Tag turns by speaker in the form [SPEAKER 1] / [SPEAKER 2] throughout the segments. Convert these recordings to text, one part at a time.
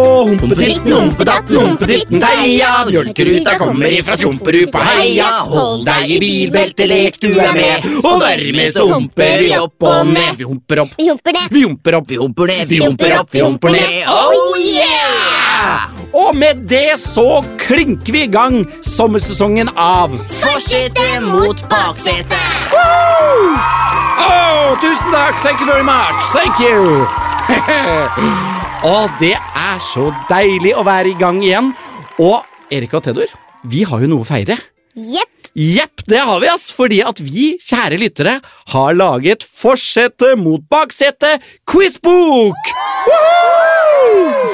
[SPEAKER 1] Lompetitt, lompetatt, lompetitten deia. Mjølkeruta kommer ifra Skumperupa, heia. Hold deg i bilbeltet, lek du er med. Og dermed så humper vi opp og ned. Vi humper opp,
[SPEAKER 2] Vi humper ned.
[SPEAKER 1] vi humper opp, vi humper ned, vi humper opp, vi humper ned. Oh yeah! Og med det så klinker vi i gang sommersesongen av
[SPEAKER 2] Forsetet mot baksetet.
[SPEAKER 1] Oh, tusen takk! Thank you very much! Thank you! og det er så deilig å være i gang igjen. Og Erika og Theodor, vi har jo noe å feire.
[SPEAKER 2] Jepp.
[SPEAKER 1] Jepp, det har vi, ass! Fordi at vi, kjære lyttere, har laget Forsete mot baksete quizbok! Woohoo!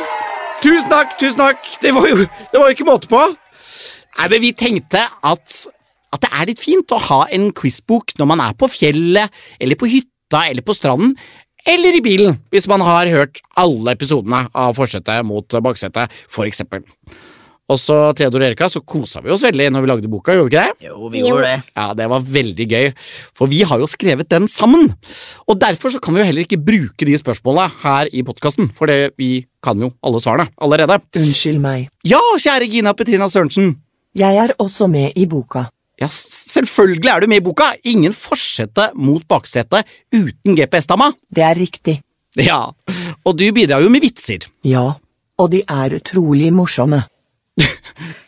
[SPEAKER 1] Tusen takk, tusen takk! Det var jo, det var jo ikke måte på. Nei, men vi tenkte at, at det er litt fint å ha en quizbok når man er på fjellet, eller på hytta, eller på stranden, eller i bilen, hvis man har hørt alle episodene av Forsete mot baksete, for eksempel. Og så Theodor og Erika, så kosa vi oss veldig når vi lagde boka, gjorde vi ikke det?
[SPEAKER 3] Jo, vi gjorde det.
[SPEAKER 1] Ja, det var veldig gøy, for vi har jo skrevet den sammen. Og derfor så kan vi jo heller ikke bruke de spørsmåla her i podkasten, for det, vi kan jo alle svarene allerede.
[SPEAKER 4] Unnskyld meg.
[SPEAKER 1] Ja, kjære Gina Petrina Sørensen.
[SPEAKER 4] Jeg er også med i boka.
[SPEAKER 1] Ja, s- selvfølgelig er du med i boka. Ingen forsete mot baksete uten GPS-damma.
[SPEAKER 4] Det er riktig.
[SPEAKER 1] Ja, og du bidrar jo med vitser.
[SPEAKER 4] Ja. Og de er utrolig morsomme.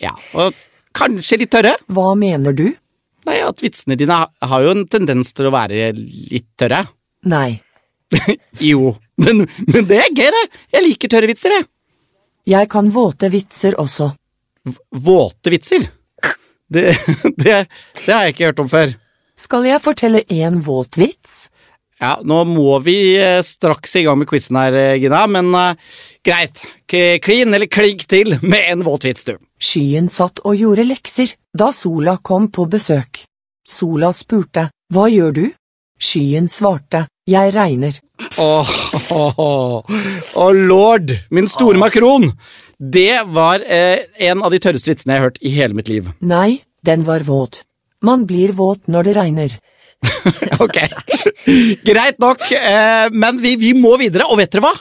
[SPEAKER 1] Ja, og kanskje litt tørre?
[SPEAKER 4] Hva mener du?
[SPEAKER 1] Nei, at vitsene dine ha- har jo en tendens til å være litt tørre.
[SPEAKER 4] Nei.
[SPEAKER 1] Jo, men, men det er gøy, det. Jeg liker tørre vitser, jeg.
[SPEAKER 4] Jeg kan våte vitser også.
[SPEAKER 1] Våte vitser? Det, det, det har jeg ikke hørt om før.
[SPEAKER 4] Skal jeg fortelle en våt vits?
[SPEAKER 1] Ja, Nå må vi eh, straks i gang med quizen her, eh, Gina, men eh, greit. K- Klin eller kligg til med en våt vits, du.
[SPEAKER 4] Skyen satt og gjorde lekser da sola kom på besøk. Sola spurte, hva gjør du? Skyen svarte, jeg regner.
[SPEAKER 1] Åh, åh, åh. Åh, lord, min store makron! Det var eh, en av de tørreste vitsene jeg har hørt i hele mitt liv.
[SPEAKER 4] Nei, den var våt. Man blir våt når det regner.
[SPEAKER 1] Ok, greit nok, eh, men vi, vi må videre, og vet dere hva?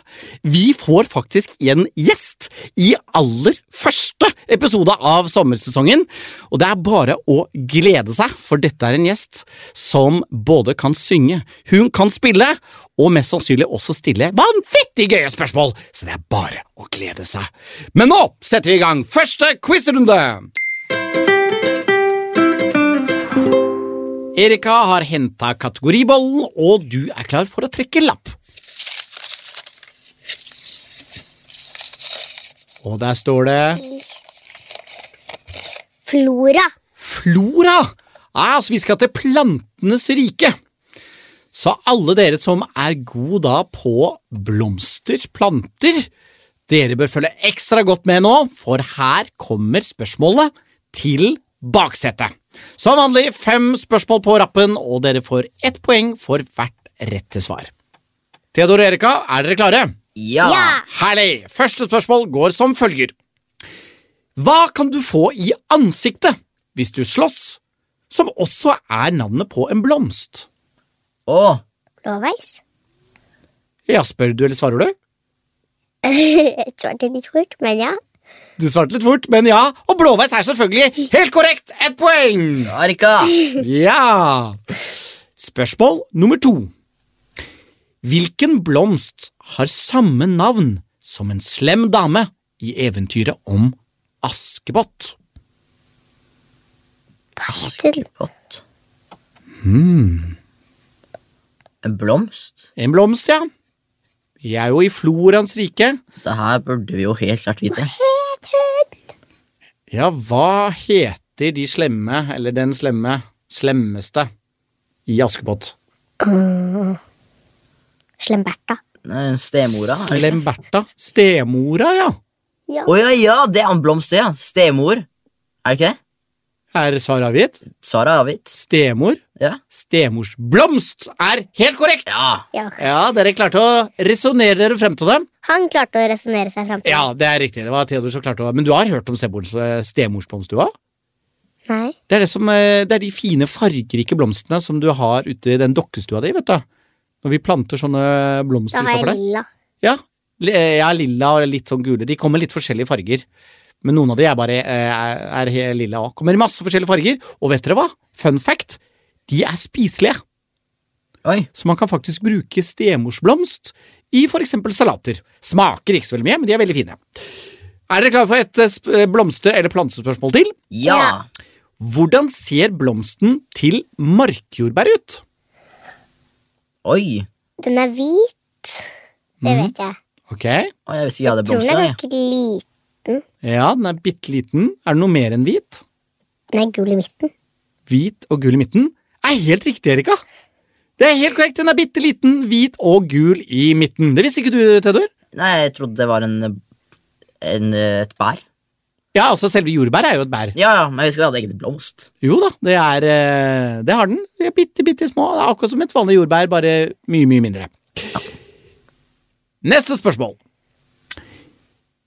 [SPEAKER 1] Vi får faktisk en gjest i aller første episode av sommersesongen, og det er bare å glede seg, for dette er en gjest som både kan synge, hun kan spille, og mest sannsynlig også stille vanvittig gøye spørsmål, så det er bare å glede seg. Men nå setter vi i gang første quizrunde! Erika har henta kategoribollen, og du er klar for å trekke lapp. Og der står det
[SPEAKER 2] Flora.
[SPEAKER 1] Flora! Ja, så vi skal til plantenes rike. Så alle dere som er gode da på blomster, planter, dere bør følge ekstra godt med nå, for her kommer spørsmålet til baksetet. Som vanlig fem spørsmål på rappen, og dere får ett poeng for hvert rette svar. Theodor og Erika, er dere klare?
[SPEAKER 3] Ja.
[SPEAKER 2] Ja.
[SPEAKER 1] Herlig! Første spørsmål går som følger. Hva kan du få i ansiktet hvis du slåss, som også er navnet på en blomst?
[SPEAKER 3] Å,
[SPEAKER 2] Blåveis.
[SPEAKER 1] Ja, spør du eller svarer du?
[SPEAKER 2] Jeg svarte litt fort, men ja.
[SPEAKER 1] Du svarte litt fort, men ja. Og blåveis er selvfølgelig helt korrekt! Ett poeng!
[SPEAKER 3] Arika.
[SPEAKER 1] Ja! Spørsmål nummer to. Hvilken blomst har samme navn som en slem dame i eventyret om Askepott?
[SPEAKER 2] Pastel.
[SPEAKER 3] Pott. En blomst?
[SPEAKER 1] En blomst, ja. Vi er jo i floraens rike.
[SPEAKER 3] Det her burde vi jo helt klart vite.
[SPEAKER 1] Ja, hva heter de slemme, eller den slemme, slemmeste i Askepott?
[SPEAKER 2] Slemberta.
[SPEAKER 3] Nei, Eh, Stemora. Å
[SPEAKER 1] Slemberta? Stemora, ja.
[SPEAKER 2] Ja.
[SPEAKER 3] ja, ja, det er en blomst, det, ja. Stemor. Er det ikke det?
[SPEAKER 1] Er svaret avgitt?
[SPEAKER 3] Sara er avgitt.
[SPEAKER 1] Stemor?
[SPEAKER 3] Ja.
[SPEAKER 1] Stemors blomst er helt korrekt!
[SPEAKER 3] ja.
[SPEAKER 2] Ja.
[SPEAKER 1] Ja, dere klarte å resonnere dere frem til det.
[SPEAKER 2] Han klarte å resonnere seg fram til
[SPEAKER 1] Ja, det er riktig. Det var Theodor som klarte å Men du har hørt om stemors, eh, stemors blomst, du òg?
[SPEAKER 2] det. Nei.
[SPEAKER 1] Det er, det, som, eh, det er de fine, fargerike blomstene som du har ute i den dokkestua di, vet du. Når vi planter sånne blomster
[SPEAKER 2] Da har
[SPEAKER 1] utafor
[SPEAKER 2] jeg
[SPEAKER 1] der.
[SPEAKER 2] lilla.
[SPEAKER 1] Ja, Li- Jeg har lilla og litt sånn gule. De kommer litt forskjellige farger. Men noen av de er bare eh, er- er helt lilla òg. Kommer i masse forskjellige farger. Og vet dere hva? Fun fact. De er spiselige,
[SPEAKER 3] Oi.
[SPEAKER 1] så man kan faktisk bruke stemorsblomst i f.eks. salater. Smaker ikke så veldig mye, men de er veldig fine. Er dere klare for et eh, sp- eh, blomster- eller plantespørsmål til?
[SPEAKER 3] Ja.
[SPEAKER 1] Hvordan ser blomsten til markjordbær ut?
[SPEAKER 3] Oi.
[SPEAKER 2] Den er hvit. Det vet jeg.
[SPEAKER 1] Ok,
[SPEAKER 3] Å, jeg visste ikke jeg hadde
[SPEAKER 2] Tror den
[SPEAKER 3] blomster.
[SPEAKER 2] er
[SPEAKER 3] jeg.
[SPEAKER 2] ganske liten.
[SPEAKER 1] ja, den er bitte liten. Er det noe mer enn hvit?
[SPEAKER 2] Den er gul i midten.
[SPEAKER 1] Hvit og gul i midten? Er helt riktig, Erika. Det er helt korrekt. Den er bitte liten, hvit og gul i midten. Det visste ikke du, Theodor?
[SPEAKER 3] Nei, jeg trodde det var en, en eh, et bær.
[SPEAKER 1] Ja, altså selve jordbær er jo et bær.
[SPEAKER 3] Ja, ja, men jeg visste ikke det hadde eget blomst.
[SPEAKER 1] Jo da, det er eh, Det har den. De er bitte, bitte små. Det er akkurat som et vanlig jordbær, bare mye, mye mindre. Neste spørsmål.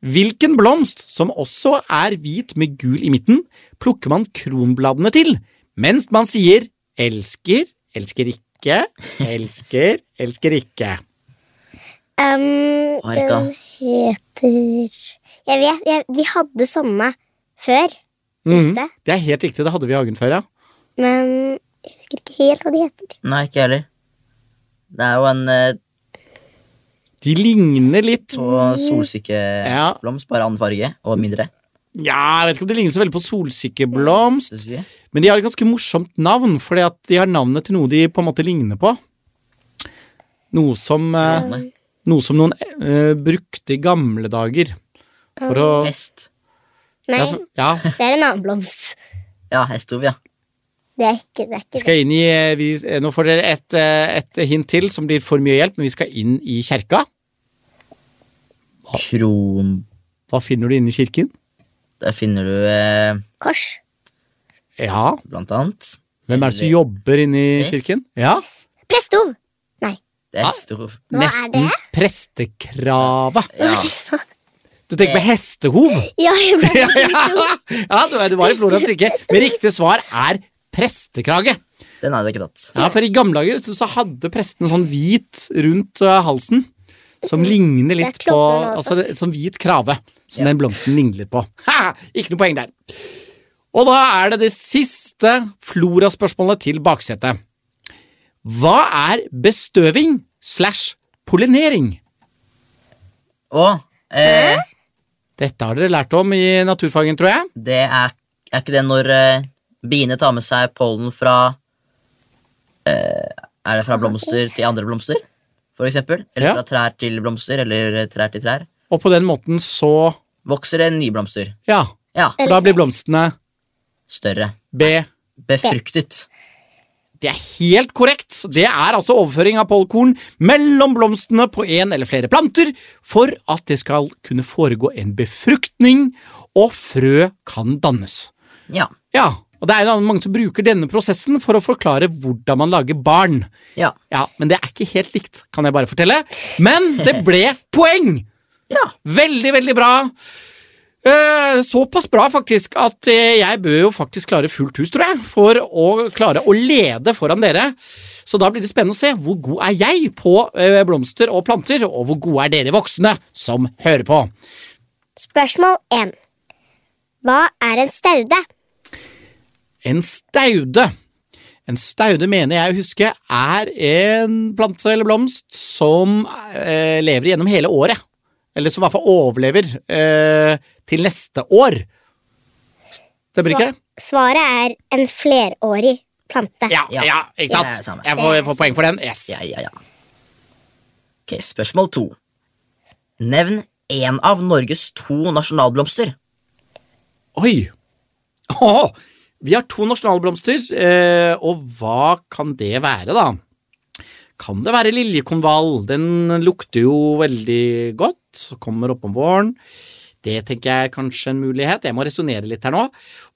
[SPEAKER 1] Hvilken blomst, som også er hvit med gul i midten, plukker man kronbladene til mens man sier elsker, elsker ikke, elsker, elsker ikke?
[SPEAKER 2] Um,
[SPEAKER 3] Erika.
[SPEAKER 2] den heter Jeg vet, jeg, vi hadde sånne før,
[SPEAKER 1] Mhm,
[SPEAKER 2] ute,
[SPEAKER 1] Det er helt riktig, det hadde vi i hagen før, ja.
[SPEAKER 2] men jeg husker ikke helt hva de heter.
[SPEAKER 3] Nei, ikke heller. Det er jo en eh,
[SPEAKER 1] De ligner litt
[SPEAKER 3] på solsikkeblomst, bare annen farge og mindre.
[SPEAKER 1] Ja, jeg vet ikke om de ligner så veldig på solsikkeblomst.
[SPEAKER 3] Synes vi.
[SPEAKER 1] Men de har et ganske morsomt navn, fordi at de har navnet til noe de på en måte ligner på. Noe som, eh,
[SPEAKER 3] Måne.
[SPEAKER 1] noe som noen eh, brukte i gamle dager. For å
[SPEAKER 3] Hest.
[SPEAKER 2] Nei,
[SPEAKER 1] ja, for, ja,
[SPEAKER 2] det er en annen blomst.
[SPEAKER 3] Ja, hestehov, ja.
[SPEAKER 2] Det er ikke det. Er ikke det.
[SPEAKER 1] skal inn i, eh, vi, eh, nå får dere et, eh, et hint til som blir for mye hjelp, men vi skal inn i kjerka.
[SPEAKER 3] Kron...
[SPEAKER 1] Hva finner du inne i kirken?
[SPEAKER 3] Der finner du eh,
[SPEAKER 2] Kors.
[SPEAKER 1] Ja,
[SPEAKER 3] blant annet
[SPEAKER 1] hvem er det som jobber inne i
[SPEAKER 3] Prest.
[SPEAKER 1] kirken? Ja,
[SPEAKER 2] Prestehov!
[SPEAKER 3] Det er hestehov.
[SPEAKER 2] Hva er
[SPEAKER 1] nesten
[SPEAKER 2] det?
[SPEAKER 1] prestekrave.
[SPEAKER 3] Ja.
[SPEAKER 1] Du tenker på hestehov?
[SPEAKER 2] Ja, jeg ble
[SPEAKER 1] ja, ja. ja, du, du var i Florens kirke. Men riktig svar er prestekrage.
[SPEAKER 3] Den hadde jeg ikke tatt.
[SPEAKER 1] Ja, for I gamle dager så, så hadde presten sånn hvit rundt ø, halsen, som ligner litt
[SPEAKER 2] Det er
[SPEAKER 1] på
[SPEAKER 2] klokka nå også.
[SPEAKER 1] altså, det- Sånn hvit krave, som
[SPEAKER 3] Ja.
[SPEAKER 1] den blomsten ligner litt på. Ha, ikke noe poeng der. Og da er det det siste floraspørsmålet til baksetet. Hva er bestøving slash pollinering?
[SPEAKER 3] Og eh,
[SPEAKER 1] Dette har dere lært om i naturfagen, tror jeg.
[SPEAKER 3] det er, er ikke det når eh, biene tar med seg pollen fra eh, Er det fra blomster til andre blomster, for eksempel? Eller
[SPEAKER 1] Ja.
[SPEAKER 3] fra trær til blomster, eller eh, trær til trær?
[SPEAKER 1] Og på den måten så
[SPEAKER 3] Vokser det nye blomster?
[SPEAKER 1] Ja,
[SPEAKER 3] Ja.
[SPEAKER 1] for da blir blomstene
[SPEAKER 3] Større.
[SPEAKER 1] B.
[SPEAKER 3] Befruktet.
[SPEAKER 1] Det er helt korrekt. Det er altså overføring av pollenkorn mellom blomstene på en eller flere planter for at det skal kunne foregå en befruktning, og frø kan dannes.
[SPEAKER 3] Ja.
[SPEAKER 1] Ja, og det er jo mange som bruker denne prosessen for å forklare hvordan man lager barn.
[SPEAKER 3] Ja.
[SPEAKER 1] Ja, Men det er ikke helt likt, kan jeg bare fortelle. Men det ble poeng!
[SPEAKER 3] Ja.
[SPEAKER 1] Veldig, veldig bra. Eh, såpass bra, faktisk, at eh, jeg bør jo faktisk klare fullt hus, tror jeg, for å klare å lede foran dere. Så da blir det spennende å se hvor god er jeg på eh, blomster og planter, og hvor gode er dere voksne som hører på.
[SPEAKER 2] Spørsmål 1. Hva er en staude?
[SPEAKER 1] En staude. En staude mener jeg å huske er en plante eller blomst som eh, lever gjennom hele året. Eller som i hvert fall overlever eh, til neste år. Stemmer ikke det?
[SPEAKER 2] Sva- Svaret er en flerårig plante.
[SPEAKER 1] Ja, ja,
[SPEAKER 3] Ja.
[SPEAKER 1] ikke sant?
[SPEAKER 3] Det er samme.
[SPEAKER 1] jeg, får, jeg får poeng for den. Yes.
[SPEAKER 3] Ja, ja, ja. Ok, spørsmål to. Nevn én av Norges to nasjonalblomster.
[SPEAKER 1] Oi! Åh, vi har to nasjonalblomster, eh, og hva kan det være, da? Kan det være liljekonvall? Den lukter jo veldig godt, kommer opp om våren. Det tenker jeg er kanskje en mulighet. Jeg må resonnere litt her nå.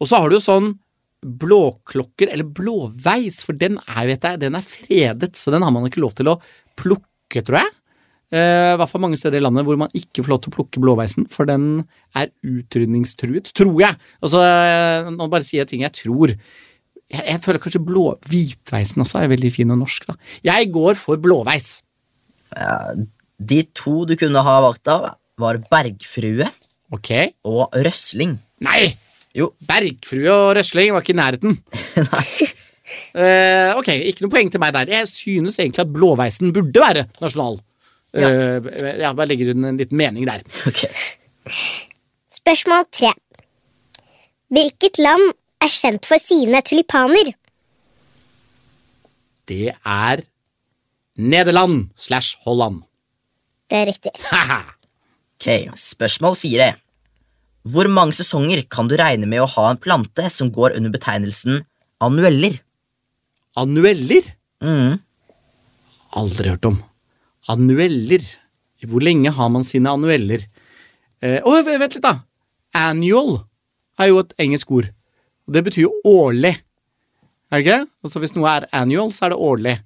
[SPEAKER 1] Og så har du jo sånn blåklokker, eller blåveis, for den er, vet jeg, den er fredet, så den har man ikke lov til å plukke, tror jeg. Eh, I hvert fall mange steder i landet hvor man ikke får lov til å plukke blåveisen, for den er utrydningstruet, tror jeg. Altså, eh, nå bare sier jeg ting jeg tror. Jeg, jeg føler kanskje blå... Hvitveisen også er veldig fin og norsk, da. Jeg går for blåveis.
[SPEAKER 3] Ja, De to du kunne ha valgt av, var bergfrue
[SPEAKER 1] Ok.
[SPEAKER 3] og røsling.
[SPEAKER 1] Nei!
[SPEAKER 3] Jo.
[SPEAKER 1] Bergfrue og røsling var ikke i nærheten. Eh, ok, ikke noe poeng til meg der. Jeg synes egentlig at blåveisen burde være nasjonal. Ja. ja, bare legger hun en liten mening der.
[SPEAKER 3] Ok.
[SPEAKER 2] Spørsmål tre. Hvilket land er kjent for sine tulipaner?
[SPEAKER 1] Det er Nederland slash Holland.
[SPEAKER 2] Det er riktig.
[SPEAKER 1] Haha.
[SPEAKER 3] Ok, Spørsmål fire. Hvor mange sesonger kan du regne med å ha en plante som går under betegnelsen annueller?
[SPEAKER 1] Annueller?
[SPEAKER 3] Mm.
[SPEAKER 1] Aldri hørt om. Annueller. Hvor lenge har man sine annueller? Eh, Å, v- vent litt, da. Annual er jo et engelsk ord. Og det betyr jo årlig. Er det ikke? Altså Hvis noe er annual, så er det årlig.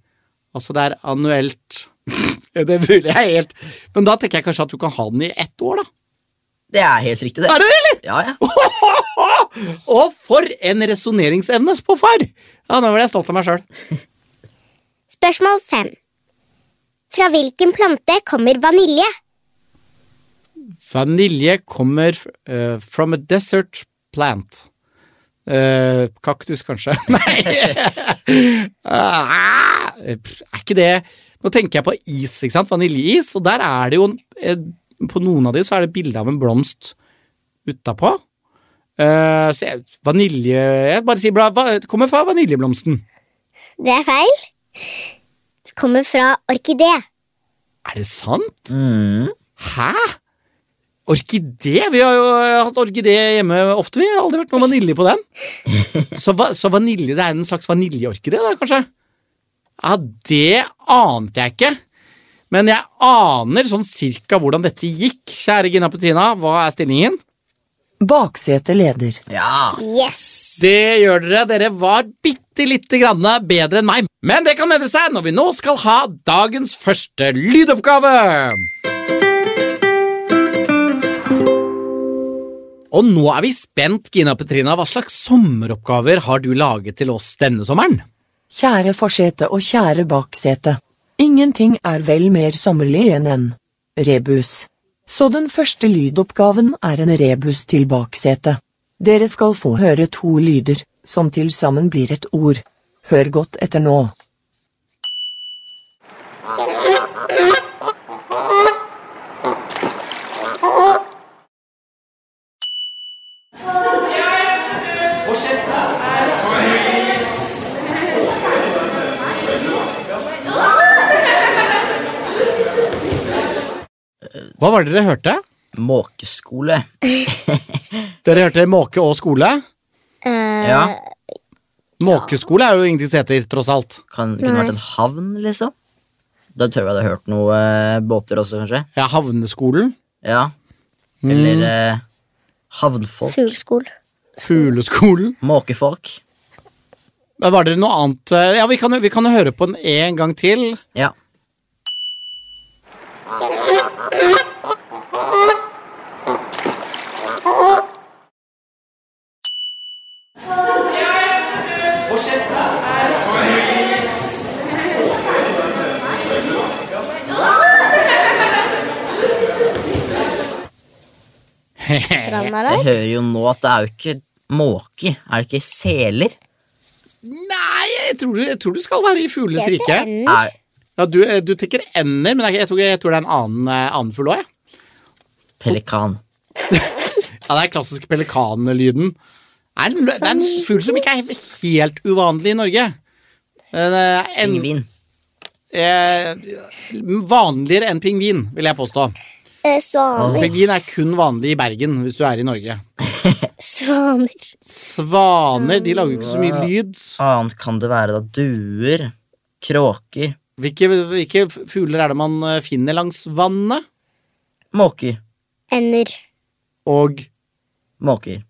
[SPEAKER 1] Altså det er annuelt Ja, Det burde jeg helt Men da tenker jeg kanskje at du kan ha den i ett år, da.
[SPEAKER 3] Det er helt riktig, det.
[SPEAKER 1] Er det det, eller?
[SPEAKER 3] Ja, ja.
[SPEAKER 1] Og for en resonneringsevne, spåfar! Ja, nå ble jeg stolt av meg sjøl.
[SPEAKER 2] Spørsmål fem. Fra hvilken plante kommer vanilje?
[SPEAKER 1] Vanilje kommer eh, from a desert plant. Eh, kaktus, kanskje? Nei! Ah, er ikke det Nå tenker jeg på is, ikke sant? Vaniljeis, og der er det jo en, eh, På noen av de så er det bilde av en blomst utapå. Eh, så jeg, vanilje Jeg bare sier bla, va, det kommer fra vaniljeblomsten.
[SPEAKER 2] Det er feil. Det kommer fra orkidé.
[SPEAKER 1] Er det sant?
[SPEAKER 3] Mm.
[SPEAKER 1] Hæ? Orkidé? Vi har jo eh, hatt orkidé hjemme ofte, vi. Har aldri vært noe vanilje på den. Så, va så vanilje, det er en slags vaniljeorkidé, da, kanskje? Ja, det ante jeg ikke. Men jeg aner sånn cirka hvordan dette gikk. Kjære Gina Petrina, hva er stillingen?
[SPEAKER 4] Baksete leder.
[SPEAKER 3] Ja.
[SPEAKER 2] Yes!
[SPEAKER 1] Det gjør dere. Dere var bitte lite grann bedre enn meg. Men det kan endre seg når vi nå skal ha dagens første lydoppgave. Og nå er vi spent, Gina Petrina. Hva slags sommeroppgaver har du laget til oss denne sommeren?
[SPEAKER 4] Kjære forsete og kjære baksete. Ingenting er vel mer sommerlig enn en rebus. Så den første lydoppgaven er en rebus til baksetet. Dere skal få høre to lyder, som til sammen blir et ord. Hør godt etter nå.
[SPEAKER 1] Hva var det dere hørte?
[SPEAKER 3] Måkeskole.
[SPEAKER 1] Dere hørte måke og skole.
[SPEAKER 2] Eh,
[SPEAKER 3] Ja.
[SPEAKER 1] Måkeskole er jo ingenting som heter, tross alt.
[SPEAKER 3] Kan, kunne vært en havn, liksom. Da tror jeg vi hadde hørt noe eh, båter også, kanskje.
[SPEAKER 1] Ja, Havneskolen.
[SPEAKER 3] Ja.
[SPEAKER 1] Mm.
[SPEAKER 3] Eller eh, havnfolk.
[SPEAKER 2] Fugleskol.
[SPEAKER 1] Fugleskolen.
[SPEAKER 3] Måkefolk.
[SPEAKER 1] Men Var det noe annet eh, Ja, vi kan, jo- vi kan jo høre på den en gang til.
[SPEAKER 3] Ja. Jeg
[SPEAKER 2] Brannalarm.
[SPEAKER 3] hører jo nå at det er jo ikke måker. Er det ikke seler?
[SPEAKER 1] Nei, jeg tror, du- jeg tror du skal være i fuglenes
[SPEAKER 2] Det er ikke
[SPEAKER 1] rike.
[SPEAKER 2] ender.
[SPEAKER 3] Er
[SPEAKER 1] Ja, du, eh, du tenker ender, men jeg, jeg, tror, jeg tror det er en annen, eh, annen fugl òg.
[SPEAKER 3] pelikan.
[SPEAKER 1] Ja, det er klassiske pelikanlyden. Det er en, lø- det er en fugl som ikke er he- helt uvanlig i Norge. Eh, En,
[SPEAKER 3] Pingvin.
[SPEAKER 1] eh, vanligere enn pingvin, vil jeg påstå.
[SPEAKER 2] Eh, Svaner.
[SPEAKER 1] Pingvin er kun vanlig i Bergen hvis du er i Norge.
[SPEAKER 2] Svaner.
[SPEAKER 1] Svaner de lager jo ikke så
[SPEAKER 2] Ah.
[SPEAKER 1] mye lyd.
[SPEAKER 3] Annet kan det være da duer, kråker,
[SPEAKER 1] Hvilke, hvilke fugler er det man eh, finner langs vannet?
[SPEAKER 3] måker,
[SPEAKER 2] Ender.
[SPEAKER 1] Og
[SPEAKER 3] måker.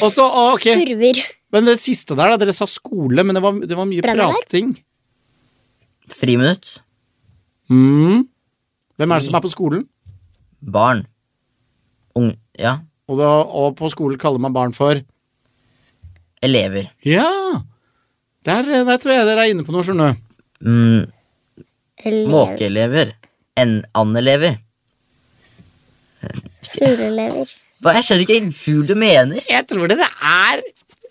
[SPEAKER 1] Og så, å, ok,
[SPEAKER 2] Spurver.
[SPEAKER 1] Men det siste der, da. Dere sa skole, men det var, det var mye
[SPEAKER 2] Brannalarm?
[SPEAKER 1] prating.
[SPEAKER 3] Friminutt,
[SPEAKER 1] Mm. Hvem er det som er på skolen?
[SPEAKER 3] barn, ung, ja,
[SPEAKER 1] Og, da, og på skolen kaller man barn for
[SPEAKER 3] elever.
[SPEAKER 1] Ja! Der, eh, der tror jeg dere er inne på noe, skjønner du.
[SPEAKER 3] Mm,
[SPEAKER 2] Elev-
[SPEAKER 3] måkeelever, enn andelever.
[SPEAKER 2] Fuglelever.
[SPEAKER 3] Hva, jeg skjønner ikke hvilken fugl du mener.
[SPEAKER 1] Jeg tror dere er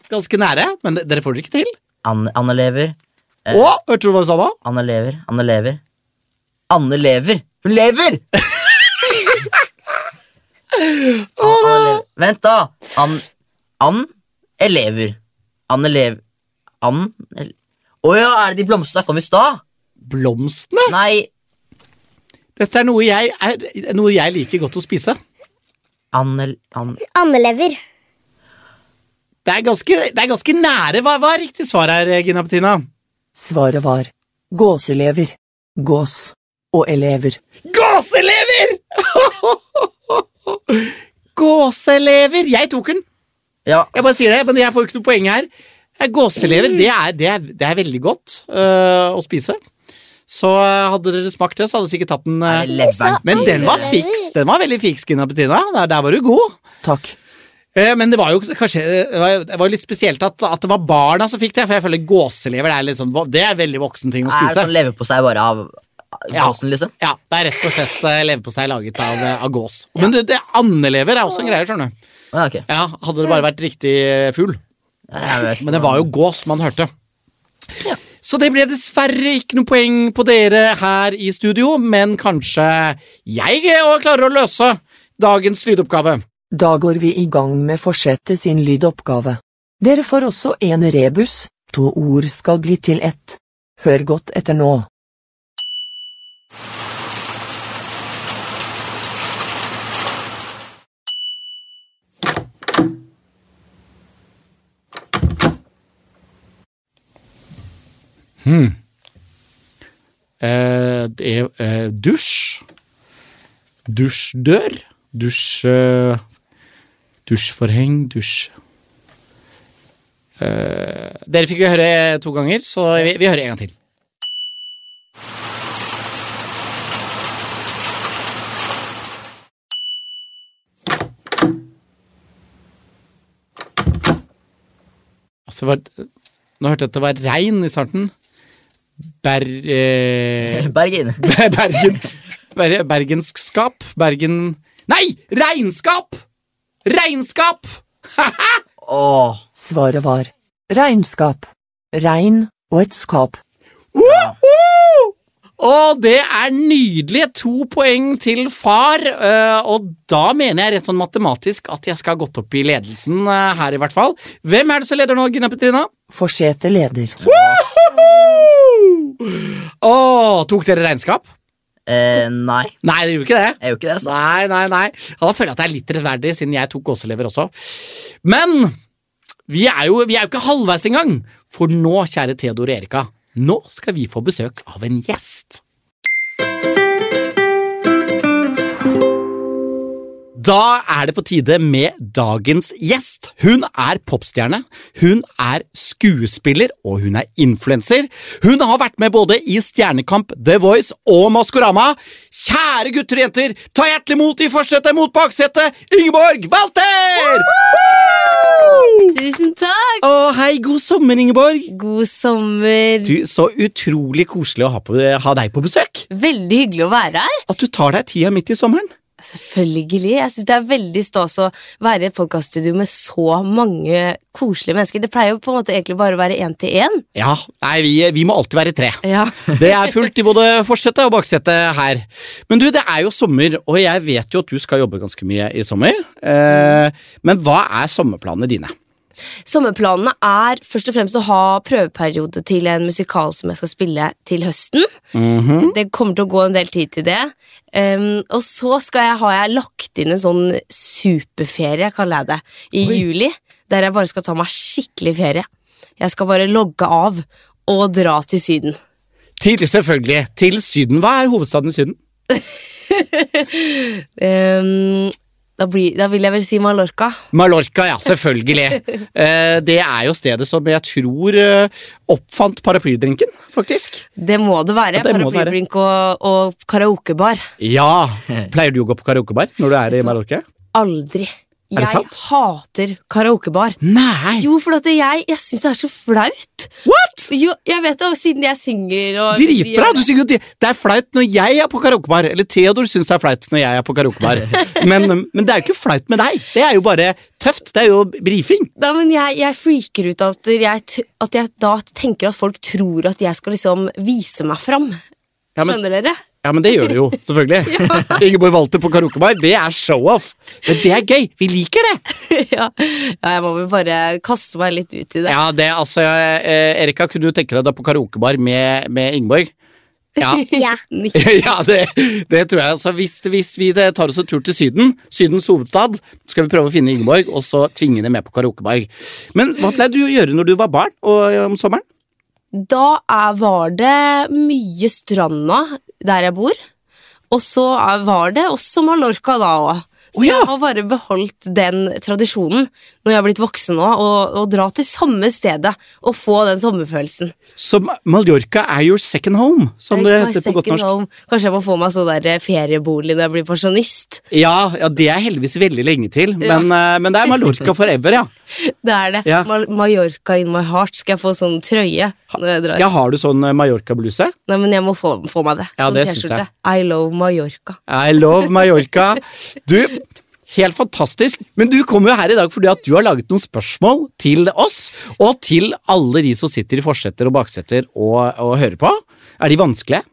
[SPEAKER 1] ganske nære, men dere får det ikke til.
[SPEAKER 3] An andelever,
[SPEAKER 1] Å, hørte du hva du sa nå?
[SPEAKER 3] andelever, andelever. Anne lever. Hun lever! Anne lever. Vent, da. Ann Ann elever. Anne lever Ann ele- Å ja, er det de blomstene som kom i stad?
[SPEAKER 1] Blomstene?
[SPEAKER 3] Nei,
[SPEAKER 1] Dette er noe jeg, er, noe jeg liker godt å spise.
[SPEAKER 3] Anne Ann
[SPEAKER 2] Andelever.
[SPEAKER 1] Det er ganske, det er ganske nære. Hva, hva er riktig svar her, eh, Gina Bettina?
[SPEAKER 4] Svaret var gåselever, gås og elever.
[SPEAKER 1] Gåselever! Gåselever! Jeg tok den.
[SPEAKER 3] Ja,
[SPEAKER 1] Jeg bare sier det, men jeg får jo ikke noe poeng her. Eh, Gåselever det er, det er, det er veldig godt øh, å spise. Så øh, hadde dere smakt det, så hadde dere sikkert tatt den. øh.
[SPEAKER 3] er det lebberen?
[SPEAKER 1] men den var fiks, den var veldig fiks, Gina Bettina. Der, der var du god.
[SPEAKER 4] Takk.
[SPEAKER 1] Eh, Men det var jo kanskje eh, det var, det var jo litt spesielt at, at det var barna som fikk det, for jeg føler gåselever det er, litt sånn, vo- det er en veldig voksen ting å
[SPEAKER 3] Er det
[SPEAKER 1] spise.
[SPEAKER 3] sånn leverpostei bare av av
[SPEAKER 1] Ja.
[SPEAKER 3] gåsen, liksom?
[SPEAKER 1] Ja, det er rett og slett eh, leverpostei laget av, eh, av gås. Men det, det andelever er også en greie, skjønner du.
[SPEAKER 3] Å, ja, ok.
[SPEAKER 1] Ja, hadde det bare vært riktig eh, fugl.
[SPEAKER 3] Ja, jeg vet.
[SPEAKER 1] Men det var jo gås man hørte. Så det ble dessverre ikke noe poeng på dere her i studio, men kanskje jeg eh, klarer å løse dagens lydoppgave.
[SPEAKER 4] Da går vi i gang med forsetet sin lydoppgave. Dere får også en rebus, to ord skal bli til ett. Hør godt etter nå.
[SPEAKER 1] Eh, det er eh, dusj. Dusjdør. Dusj eh, Dusjforheng, dusj Eh, Dere fikk vi høre to ganger, så vi, vi hører en gang til. Altså, det var, nå hørte jeg at det var regn i starten. Ber... Eh,
[SPEAKER 3] Bergin.
[SPEAKER 1] Bergen Ber- Bergenskskap Bergen Nei! Regnskap! Regnskap!
[SPEAKER 3] Åh.
[SPEAKER 4] Svaret var regnskap. Regn og et skap.
[SPEAKER 1] Woho! Og det er nydelig. To poeng til far. eh, Og da mener jeg rett sånn matematisk at jeg skal ha gått opp i ledelsen eh, her, i hvert fall. Hvem er det som leder nå, Gina Petrina?
[SPEAKER 4] Forsetet leder.
[SPEAKER 1] Åh, tok dere regnskap?
[SPEAKER 3] Eh, nei,
[SPEAKER 1] Nei, dere gjorde ikke det.
[SPEAKER 3] jeg gjør ikke det. altså.
[SPEAKER 1] Nei, nei, nei. Ja, da føler jeg at det er litt rettferdig, siden jeg tok gåselever også. Men vi er, jo, vi er jo ikke halvveis engang, for nå, kjære Theodor og Erika, nå skal vi få besøk av en gjest. Da er det på tide med dagens gjest. Hun er popstjerne, hun er skuespiller og hun er influenser. Hun har vært med både i Stjernekamp, The Voice og Maskorama. Kjære gutter og jenter, ta hjertelig imot i forsetet mot baksetet, Ingeborg Walter!
[SPEAKER 5] Tusen takk!
[SPEAKER 1] Å, hei, god sommer, Ingeborg.
[SPEAKER 5] God sommer.
[SPEAKER 1] Du, Så utrolig koselig å ha, på, ha deg på besøk.
[SPEAKER 5] Veldig hyggelig å være her.
[SPEAKER 1] At du tar deg tida midt i sommeren.
[SPEAKER 5] Selvfølgelig. Jeg synes Det er veldig stas å være i et podkaststudio med så mange koselige mennesker. Det pleier jo på en måte egentlig bare å være én til én.
[SPEAKER 1] Ja, nei, vi, vi må alltid være tre.
[SPEAKER 5] Ja.
[SPEAKER 1] Det er fullt i både forsetet og baksetet her. Men du, det er jo sommer, og jeg vet jo at du skal jobbe ganske mye i sommer. Eh, men hva er sommerplanene dine?
[SPEAKER 5] Sommerplanene er først og fremst å ha prøveperiode til en musikal som jeg skal spille til høsten.
[SPEAKER 1] Mhm.
[SPEAKER 5] Det kommer til å gå en del tid til det. Um, og så skal jeg, har jeg lagt inn en sånn superferie, kaller jeg det, i juli. Der jeg bare skal ta meg skikkelig ferie. Jeg skal bare logge av og dra til Syden.
[SPEAKER 1] Til, selvfølgelig, til Syden. Hva er hovedstaden i Syden?
[SPEAKER 5] Um, da, blir, da vil jeg vel si Mallorca.
[SPEAKER 1] Mallorca, ja, selvfølgelig. Eh, det er jo stedet som jeg tror eh, oppfant paraplydrinken, faktisk.
[SPEAKER 5] Det må det være.
[SPEAKER 1] Ja, det må det være.
[SPEAKER 5] Paraplyblink og, og karaokebar.
[SPEAKER 1] Ja. Pleier du å gå på karaokebar når du er i Mallorca?
[SPEAKER 5] Aldri.
[SPEAKER 1] det
[SPEAKER 5] Jeg
[SPEAKER 1] sant?
[SPEAKER 5] hater karaokebar.
[SPEAKER 1] Nei!
[SPEAKER 5] Jo, for at jeg, jeg syns det er så flaut.
[SPEAKER 1] What?!
[SPEAKER 5] Jo, jeg vet det, og siden jeg synger og
[SPEAKER 1] Dritbra!
[SPEAKER 5] gjør
[SPEAKER 1] Du
[SPEAKER 5] det.
[SPEAKER 1] synger jo det. Det er flaut når jeg er på karaokebar. Eller Theodor syns det er flaut når jeg er på karaokebar. Men, men det er jo ikke flaut med deg. Det er jo bare tøft. Det er jo brifing.
[SPEAKER 5] Da, men jeg, jeg freaker ut at jeg, t- at jeg da tenker at folk tror at jeg skal liksom vise meg fram.
[SPEAKER 1] Ja, men-
[SPEAKER 5] Skjønner dere?
[SPEAKER 1] Ja, men det gjør du jo, selvfølgelig. Ingeborg Walter på karaokebar, det er show-off. Men det er gøy. Vi liker det.
[SPEAKER 5] ja. ja, jeg må vel bare kaste meg litt ut i det.
[SPEAKER 1] Ja, det altså eh, Erika, kunne du tenke deg deg på karaokebar med, med Ingeborg? Ja.
[SPEAKER 2] Ja.
[SPEAKER 5] Nikk.
[SPEAKER 1] ja, det, det tror jeg. Altså, hvis, hvis vi det- tar oss en tur til Syden, Sydens hovedstad, så skal vi prøve å finne Ingeborg og så tvinge henne med på karaokebar. Men hva pleide du å gjøre når du var barn og eh, om sommeren?
[SPEAKER 5] Da er, var det mye stranda der jeg bor, og så er, var det også Mallorca da òg. Så
[SPEAKER 1] Å, ja.
[SPEAKER 5] jeg har bare beholdt den tradisjonen når jeg har blitt voksen nå, å å dra til samme stedet og få den sommerfølelsen.
[SPEAKER 1] Så Ma- Mallorca er your second home, som det
[SPEAKER 5] It's my
[SPEAKER 1] heter på godt
[SPEAKER 5] second
[SPEAKER 1] norsk.
[SPEAKER 5] home. Kanskje jeg må få meg sånn der eh, feriebolig når jeg blir pensjonist.
[SPEAKER 1] Ja, ja, det er heldigvis veldig lenge til, men, eh, men det er Mallorca forever, ja.
[SPEAKER 5] Det er det.
[SPEAKER 1] Ja.
[SPEAKER 5] Mal- Mallorca in my heart. Skal jeg få sånn trøye når jeg drar?
[SPEAKER 1] Ja, Har du sånn eh, Mallorca-bluse?
[SPEAKER 5] Nei, men jeg må få, få meg det.
[SPEAKER 1] Ja,
[SPEAKER 5] sånn
[SPEAKER 1] det syns jeg.
[SPEAKER 5] T-skjorte. I love Mallorca.
[SPEAKER 1] I love Mallorca. Du, helt fantastisk. Men du kommer jo her i dag fordi at du har laget noen spørsmål til oss, og til alle de som sitter i forsetter og baksetter og, og hører på. Er de vanskelige?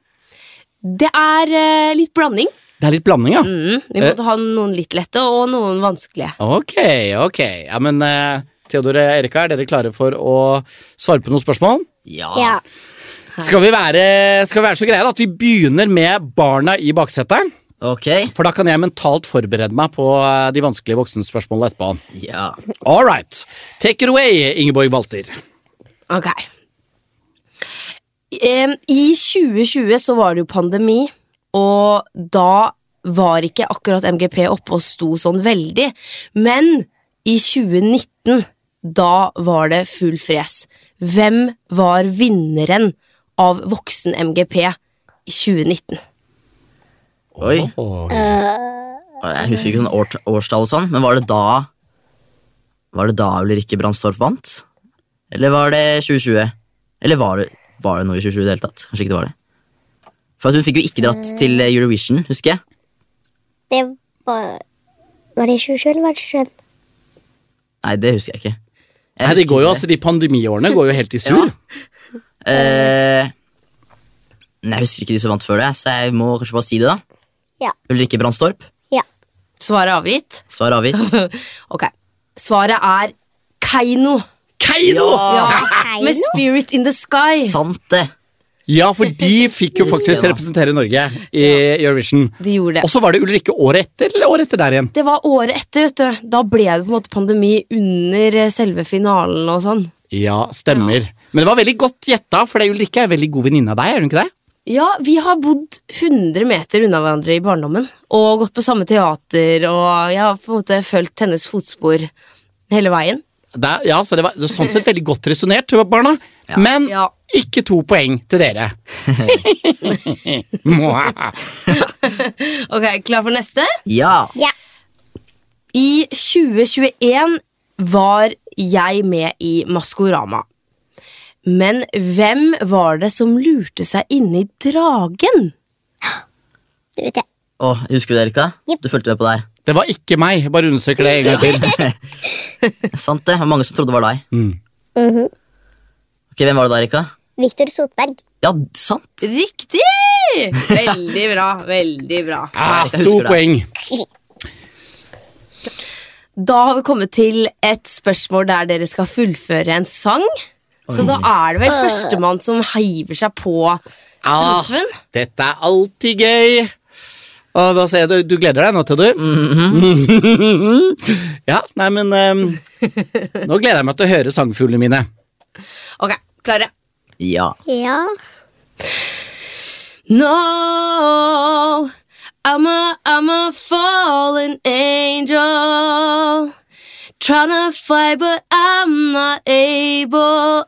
[SPEAKER 5] Det er eh, litt blanding.
[SPEAKER 1] Det er litt blanding, ja.
[SPEAKER 5] Mm, vi måtte ha noen litt lette og noen vanskelige.
[SPEAKER 1] Ok, ok. Ja, men eh, Theodor og Erika, er dere klare for å svare på noen spørsmål?
[SPEAKER 3] Ja.
[SPEAKER 2] ja.
[SPEAKER 1] Skal vi være, skal vi være så greie da at vi begynner med barna i baksetet?
[SPEAKER 3] Ok.
[SPEAKER 1] For da kan jeg mentalt forberede meg på eh, de vanskelige voksenspørsmålene etterpå.
[SPEAKER 3] Ja.
[SPEAKER 1] All right. Take it away, Ingeborg Walter.
[SPEAKER 5] Ok. Em, I 2020 så var det jo pandemi, og da var ikke akkurat MGP oppe og sto sånn veldig. Men i 2019, da var det full fres. Hvem var vinneren av voksen MGP i 2019?
[SPEAKER 3] Oi. Jeg husker ikke sånn årt- årstall og sånn, men var det da Var det da Ulrikke Brandstorp vant? Eller var det 2020? Eller var det, var det noe i 2020 i det hele tatt? Kanskje ikke det var det. For at hun fikk jo ikke dratt til Eurovision, husker jeg.
[SPEAKER 2] Det var Var det 27 eller var det 21?
[SPEAKER 3] Nei, det husker jeg ikke. Jeg
[SPEAKER 1] Nei, de,
[SPEAKER 3] husker
[SPEAKER 1] går jo,
[SPEAKER 3] ikke
[SPEAKER 1] altså, de pandemiårene går jo helt i sur.
[SPEAKER 3] Eh, nei, jeg husker ikke de som vant før det, så jeg må kanskje bare si det, da.
[SPEAKER 2] Ja.
[SPEAKER 3] Ulrikke Brandstorp.
[SPEAKER 2] Ja.
[SPEAKER 5] Svaret er avgitt.
[SPEAKER 3] Svar avgitt.
[SPEAKER 5] ok. Svaret er Keiino.
[SPEAKER 1] Keiino! Ja.
[SPEAKER 2] Hei.
[SPEAKER 5] Med Spirit in the Sky.
[SPEAKER 3] Sant det.
[SPEAKER 1] for de fikk jo faktisk representere Norge i Eurovision.
[SPEAKER 5] De gjorde det.
[SPEAKER 1] Og så var det Ulrikke året etter, eller året etter der igjen?
[SPEAKER 5] Det var året etter, vet du. Da ble det på en måte pandemi under eh, selve finalen og sånn.
[SPEAKER 1] Ja, stemmer. Men det var veldig godt gjetta, for det er Ulrikke er en veldig god venninne av deg, er hun ikke det?
[SPEAKER 5] Ja, vi har bodd 100 meter unna hverandre i barndommen og gått på samme teater, og jeg har på en måte følt hennes fotspor hele veien.
[SPEAKER 1] det er- ja, så det var det var sånn sett veldig godt resonnert, barna. Men
[SPEAKER 5] Ja.
[SPEAKER 1] ikke to poeng til dere. Mwah.
[SPEAKER 5] Ok, klar for neste?
[SPEAKER 3] Ja.
[SPEAKER 2] Ja.
[SPEAKER 5] I 2021 var jeg med i Maskorama. Men hvem var det som lurte seg inn i dragen?
[SPEAKER 2] Det vet jeg.
[SPEAKER 3] Å, husker du det, Erika?
[SPEAKER 2] Jepp.
[SPEAKER 3] Du fulgte med på der.
[SPEAKER 1] det var ikke meg, bare understreker det en gang til.
[SPEAKER 3] Sant det. Det var mange som trodde det var deg.
[SPEAKER 1] Mm.
[SPEAKER 2] Mhm.
[SPEAKER 3] Ok, Hvem var det da, Erika?
[SPEAKER 2] Victor Sotberg.
[SPEAKER 3] Ja, sant.
[SPEAKER 5] Riktig! Veldig bra, veldig bra.
[SPEAKER 1] Ah,
[SPEAKER 3] Jeg husker
[SPEAKER 1] to
[SPEAKER 3] det.
[SPEAKER 1] poeng.
[SPEAKER 5] Da har vi kommet til et spørsmål der dere skal fullføre en sang. Så da er det vel førstemann som hiver seg på
[SPEAKER 1] Ah,
[SPEAKER 5] strofen.
[SPEAKER 1] dette er alltid gøy. Og da ser jeg du, du gleder deg nå, Theodor? ja, nei, men ehm, Nå gleder jeg meg til å høre sangfuglene mine.
[SPEAKER 5] Ok, klare.
[SPEAKER 3] Ja.
[SPEAKER 2] Ja.
[SPEAKER 5] No, I'm a, I'm a fallen angel. Tryna fly, but I'm not able.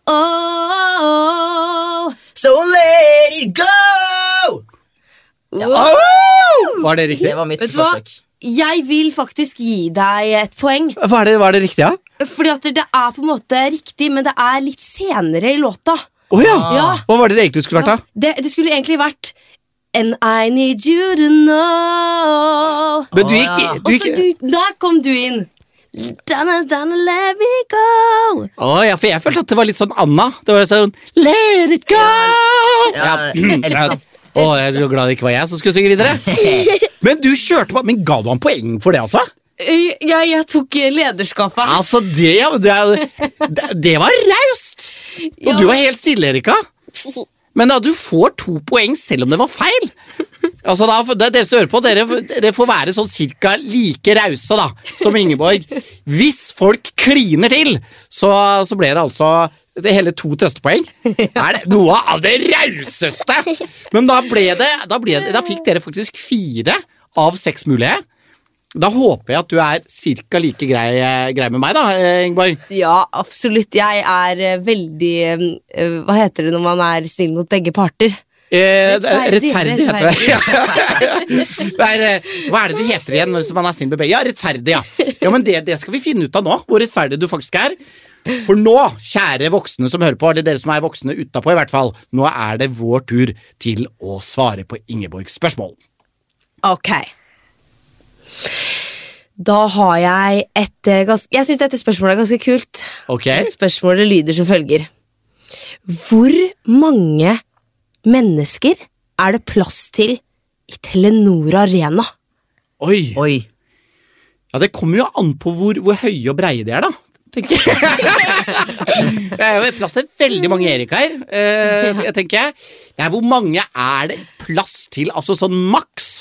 [SPEAKER 3] So let it go!
[SPEAKER 1] Au! Var det
[SPEAKER 3] Det
[SPEAKER 1] riktig?
[SPEAKER 3] var mitt
[SPEAKER 5] Vet du hva?
[SPEAKER 3] forsøk.
[SPEAKER 5] jeg vil faktisk gi deg et poeng.
[SPEAKER 1] Hva er det, hva er det riktige? ja?
[SPEAKER 5] Fordi at det er på en måte riktig, men det er litt senere i låta.
[SPEAKER 1] Å
[SPEAKER 3] Ah.
[SPEAKER 1] ja.
[SPEAKER 5] Ja.
[SPEAKER 1] Hva var det det egentlig skulle vært, da?
[SPEAKER 5] Det, det skulle egentlig vært And I need you to know
[SPEAKER 1] Men du
[SPEAKER 3] Å,
[SPEAKER 1] gikk,
[SPEAKER 3] Ah, ja.
[SPEAKER 1] du
[SPEAKER 5] Og
[SPEAKER 1] gikk
[SPEAKER 5] så du, der kom du inn. Donna, Donna, let me go.
[SPEAKER 1] Å ja, for jeg følte at det var litt sånn Anna. Det var sånn Let it go!
[SPEAKER 3] Ja,
[SPEAKER 1] Ja.
[SPEAKER 3] Elsa.
[SPEAKER 1] Å, jeg er så glad det ikke var jeg som skulle synge videre. Men du kjørte på. Men ga du han poeng for det, altså?
[SPEAKER 5] Jeg, jeg, jeg tok lederskapet.
[SPEAKER 1] Altså, Det, ja, du er- det, det var raust! Og
[SPEAKER 5] Ja.
[SPEAKER 1] du var helt stille, Erika. Men da, du får to poeng selv om det var feil. Altså da, det, Dere som hører på, dere, dere får være sånn cirka like rause da, som Ingeborg. Hvis folk kliner til, så, så ble det altså det hele to trøstepoeng. Er det noe av det rauseste! Men da ble det, da, ble det, da fikk dere faktisk fire av seks mulige. Da håper jeg at du er cirka like grei, grei med meg, da, eh, Ingeborg.
[SPEAKER 5] Ja, absolutt. Jeg er eh, veldig eh, Hva heter det når man er snill mot begge parter?
[SPEAKER 1] Eh,
[SPEAKER 5] Rettferdig,
[SPEAKER 1] rettferdig heter det. det er, eh, hva er det det heter igjen når man er snill med begge? Ja, rettferdig, ja. ja men det, det skal vi finne ut av nå, hvor rettferdig du faktisk er. For nå, kjære voksne som hører på, eller dere som er voksne utapå i hvert fall, nå er det vår tur til å svare på Ingeborgs spørsmål.
[SPEAKER 5] Ok. Da har jeg et eh, gans- Jeg syns dette spørsmålet er ganske kult.
[SPEAKER 1] Ok?
[SPEAKER 5] Eh, Spørsmålet lyder som følger. Hvor mange mennesker er det plass til i Telenor Arena?
[SPEAKER 1] Oi!
[SPEAKER 3] Oi.
[SPEAKER 1] Ja, det kommer jo an på hvor, hvor høye og breie de er, da. Tenker jeg. det er jo plass til veldig mange Erik her, eh, jeg tenker jeg. Nei, hvor mange er det plass til? Altså sånn maks?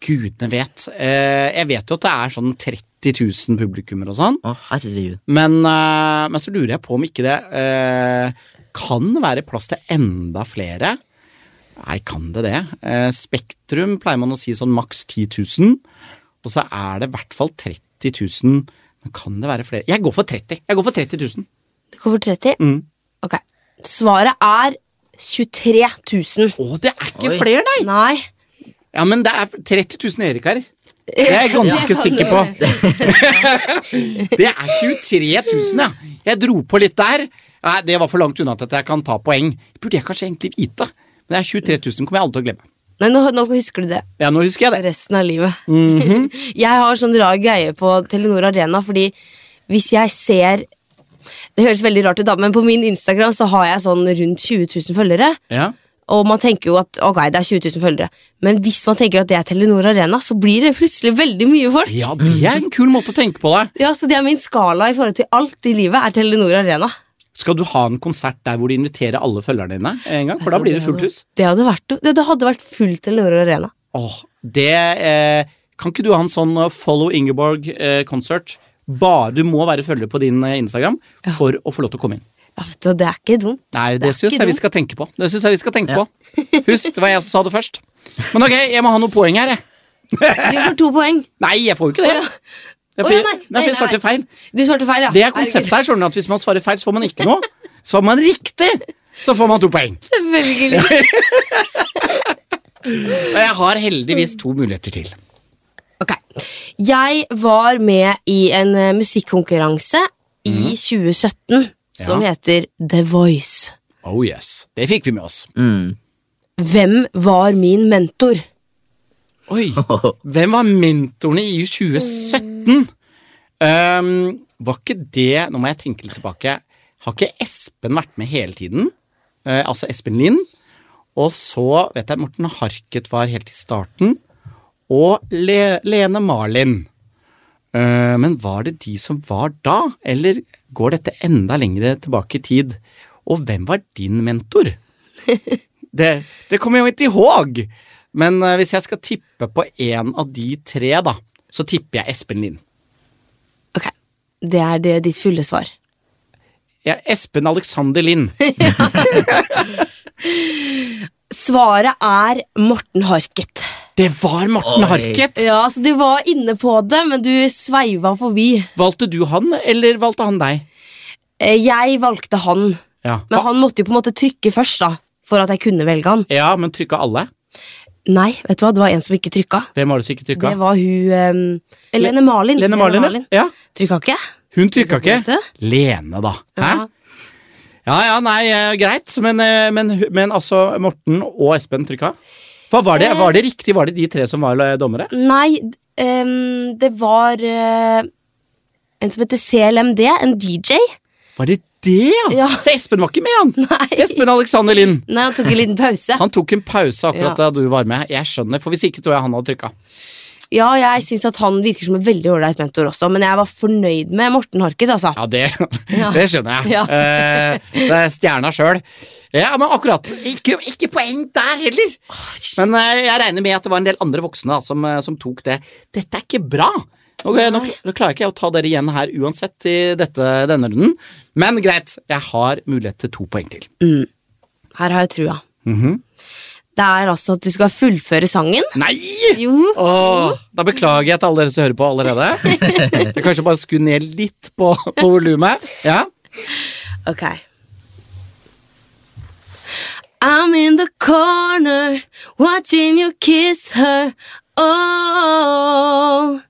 [SPEAKER 1] Gudene vet. Eh, jeg vet jo at det er sånn 30 000 publikummer og sånn,
[SPEAKER 3] Å, herregud.
[SPEAKER 1] men, eh, men så lurer jeg på om ikke det eh, kan være plass til enda flere. Nei, kan det det? Eh, Spektrum pleier man å si sånn maks 10 000. Og så er det i hvert fall 30 000. Men kan det være flere? Jeg går for 30 Jeg går for 30 000.
[SPEAKER 5] Du går for 30? Ok. Svaret er 23 000.
[SPEAKER 1] Å, det er ikke
[SPEAKER 3] Oi.
[SPEAKER 1] flere, nei!
[SPEAKER 5] Nei.
[SPEAKER 1] Ja, men det er 30 000 Erik her. Det er jeg ganske sikker på. det er 23 000, ja. Jeg dro på litt der. Nei, Det var for langt unna til at jeg kan ta poeng. Det burde jeg kanskje egentlig vite. Men det er 23 000 kommer jeg aldri til å glemme.
[SPEAKER 5] Nei, nå, nå husker du det.
[SPEAKER 1] Ja, nå husker jeg det.
[SPEAKER 5] resten av livet. jeg har sånn rar greie på Telenor Arena, fordi hvis jeg ser Det høres veldig rart ut, da, men på min Instagram så har jeg sånn rundt 20 000 følgere.
[SPEAKER 1] Ja.
[SPEAKER 5] Og man tenker jo at ok, det er 20 000 følgere, men hvis man tenker at det er Telenor Arena, så blir det plutselig veldig mye folk.
[SPEAKER 1] ja, det er en kul måte å tenke på det.
[SPEAKER 5] Ja, Så det er min skala i forhold til alt i livet, er Telenor Arena.
[SPEAKER 1] Skal du ha en konsert der hvor de inviterer alle følgerne dine en gang? For da blir det fullt hus.
[SPEAKER 5] Det hadde vært, det hadde vært full Telenor Arena.
[SPEAKER 1] Åh, det eh, Kan ikke du ha en sånn eh, Follow Ingeborg-konsert? Bare, du må være følger på din eh, Instagram for å få lov til å komme inn.
[SPEAKER 5] Ja, vet du, Det er ikke dumt.
[SPEAKER 1] Nei, det,
[SPEAKER 5] er
[SPEAKER 1] syns
[SPEAKER 5] ikke
[SPEAKER 1] jeg vi
[SPEAKER 5] dumt.
[SPEAKER 1] skal tenke på. Det synes jeg vi skal tenke på. Husk, det var jeg som sa det først. Men ok, jeg må ha noen poeng her, jeg.
[SPEAKER 5] Du får to poeng.
[SPEAKER 1] Nei, jeg får jo ikke det.
[SPEAKER 5] Å, ja.
[SPEAKER 1] Det er
[SPEAKER 5] Å,
[SPEAKER 1] fordi det
[SPEAKER 5] ja, nei,
[SPEAKER 1] er fordi
[SPEAKER 5] nei,
[SPEAKER 1] jeg svarte
[SPEAKER 5] nei.
[SPEAKER 1] feil.
[SPEAKER 5] Du svarte feil, ja.
[SPEAKER 1] Det er konseptet her, skjønner du, at hvis man svarer feil, så får man ikke noe. Svarer man riktig, så får man to poeng.
[SPEAKER 5] Selvfølgelig.
[SPEAKER 1] Og jeg har heldigvis to muligheter til.
[SPEAKER 5] Ok. Jeg var med i en eh, musikkonkurranse i 2017 som
[SPEAKER 1] Mhm. Ja.
[SPEAKER 5] heter The Voice.
[SPEAKER 1] Oh yes. Det fikk vi med oss.
[SPEAKER 3] Mm.
[SPEAKER 5] Hvem var min mentor?
[SPEAKER 1] Oi. Hvem var mentorene i 2017? Ehm, var ikke det Nå må jeg tenke litt tilbake. Har ikke Espen vært med hele tiden? Eh, altså Espen Lind. Og så vet jeg Morten Harket var helt i starten. Og Le Lene Marlin. Eh, men var det de som var da, eller går dette enda lengre tilbake i tid? Og hvem var din mentor? Det, det kommer jeg jo ikke ihåg. Men eh, hvis jeg skal tippe på en av de tre, da, så tipper jeg Espen Lind.
[SPEAKER 5] Ok, Det er det ditt fulle svar.
[SPEAKER 1] Ja, Espen Alexander Lind.
[SPEAKER 5] Svaret er Morten Harket.
[SPEAKER 1] Det var Morten
[SPEAKER 3] Oi.
[SPEAKER 1] Harket!
[SPEAKER 5] Ja, så Du var inne på det, men du sveiva forbi.
[SPEAKER 1] Valgte du han, eller valgte han deg?
[SPEAKER 5] Eh, Jeg valgte han,
[SPEAKER 1] Ja,
[SPEAKER 5] Ah. men han måtte jo på en måte trykke først da, for at jeg kunne velge han.
[SPEAKER 1] ja men trykka alle?
[SPEAKER 5] Nei, vet du hva, det var en som ikke trykka.
[SPEAKER 1] Hvem var det som ikke trykka?
[SPEAKER 5] Det var hun ehm, Lene Malin.
[SPEAKER 1] Lene Marlin, ja. ja.
[SPEAKER 5] Trykka ikke?
[SPEAKER 1] Hun trykka ikke.
[SPEAKER 5] Vet
[SPEAKER 1] Lene, da. Hæ?
[SPEAKER 5] Ja.
[SPEAKER 1] Ja ja, nei, eh, greit. Men, eh, men, men altså, Morten og Espen trykka? Hva var det?
[SPEAKER 5] Eh.
[SPEAKER 1] Var det riktig? Var det de tre som var eh, dommere?
[SPEAKER 5] Nei, d- ehm, det var eh, en som heter CLMD, en DJ.
[SPEAKER 1] Var det det, ja?
[SPEAKER 5] Ja.
[SPEAKER 1] Så Espen var ikke med, han!
[SPEAKER 5] Nei,
[SPEAKER 1] Espen Alexander Lind.
[SPEAKER 5] Nei han tok en liten pause.
[SPEAKER 1] Han tok en pause akkurat
[SPEAKER 5] Ja.
[SPEAKER 1] da du var med. Jeg skjønner, for hvis ikke tror jeg han hadde trykka.
[SPEAKER 5] Ja, jeg syns at han virker som en veldig ålreit mentor også, men jeg var fornøyd med Morten Harket, altså.
[SPEAKER 1] Ja, det,
[SPEAKER 5] Ja.
[SPEAKER 1] det skjønner jeg.
[SPEAKER 5] Ja.
[SPEAKER 1] Eh, det er stjerna sjøl. Ja, men akkurat. Ikke, ikke poeng der heller! Men eh, jeg regner med at det var en del andre voksne da, som, eh, som tok det. Dette er ikke bra! Nå, nå,
[SPEAKER 5] Nei.
[SPEAKER 1] nå klarer ikke jeg å ta dere igjen her uansett i dette, denne runden, men greit. Jeg har mulighet til to poeng til.
[SPEAKER 5] Her har jeg trua. Det er altså at du skal fullføre sangen.
[SPEAKER 1] Nei!
[SPEAKER 5] Jo.
[SPEAKER 1] Åh, da beklager jeg til alle dere som hører på allerede. Jeg kan kanskje bare skru ned litt på, på volumet. Ja.
[SPEAKER 5] Ok. I'm in the corner watching you kiss her. Oh.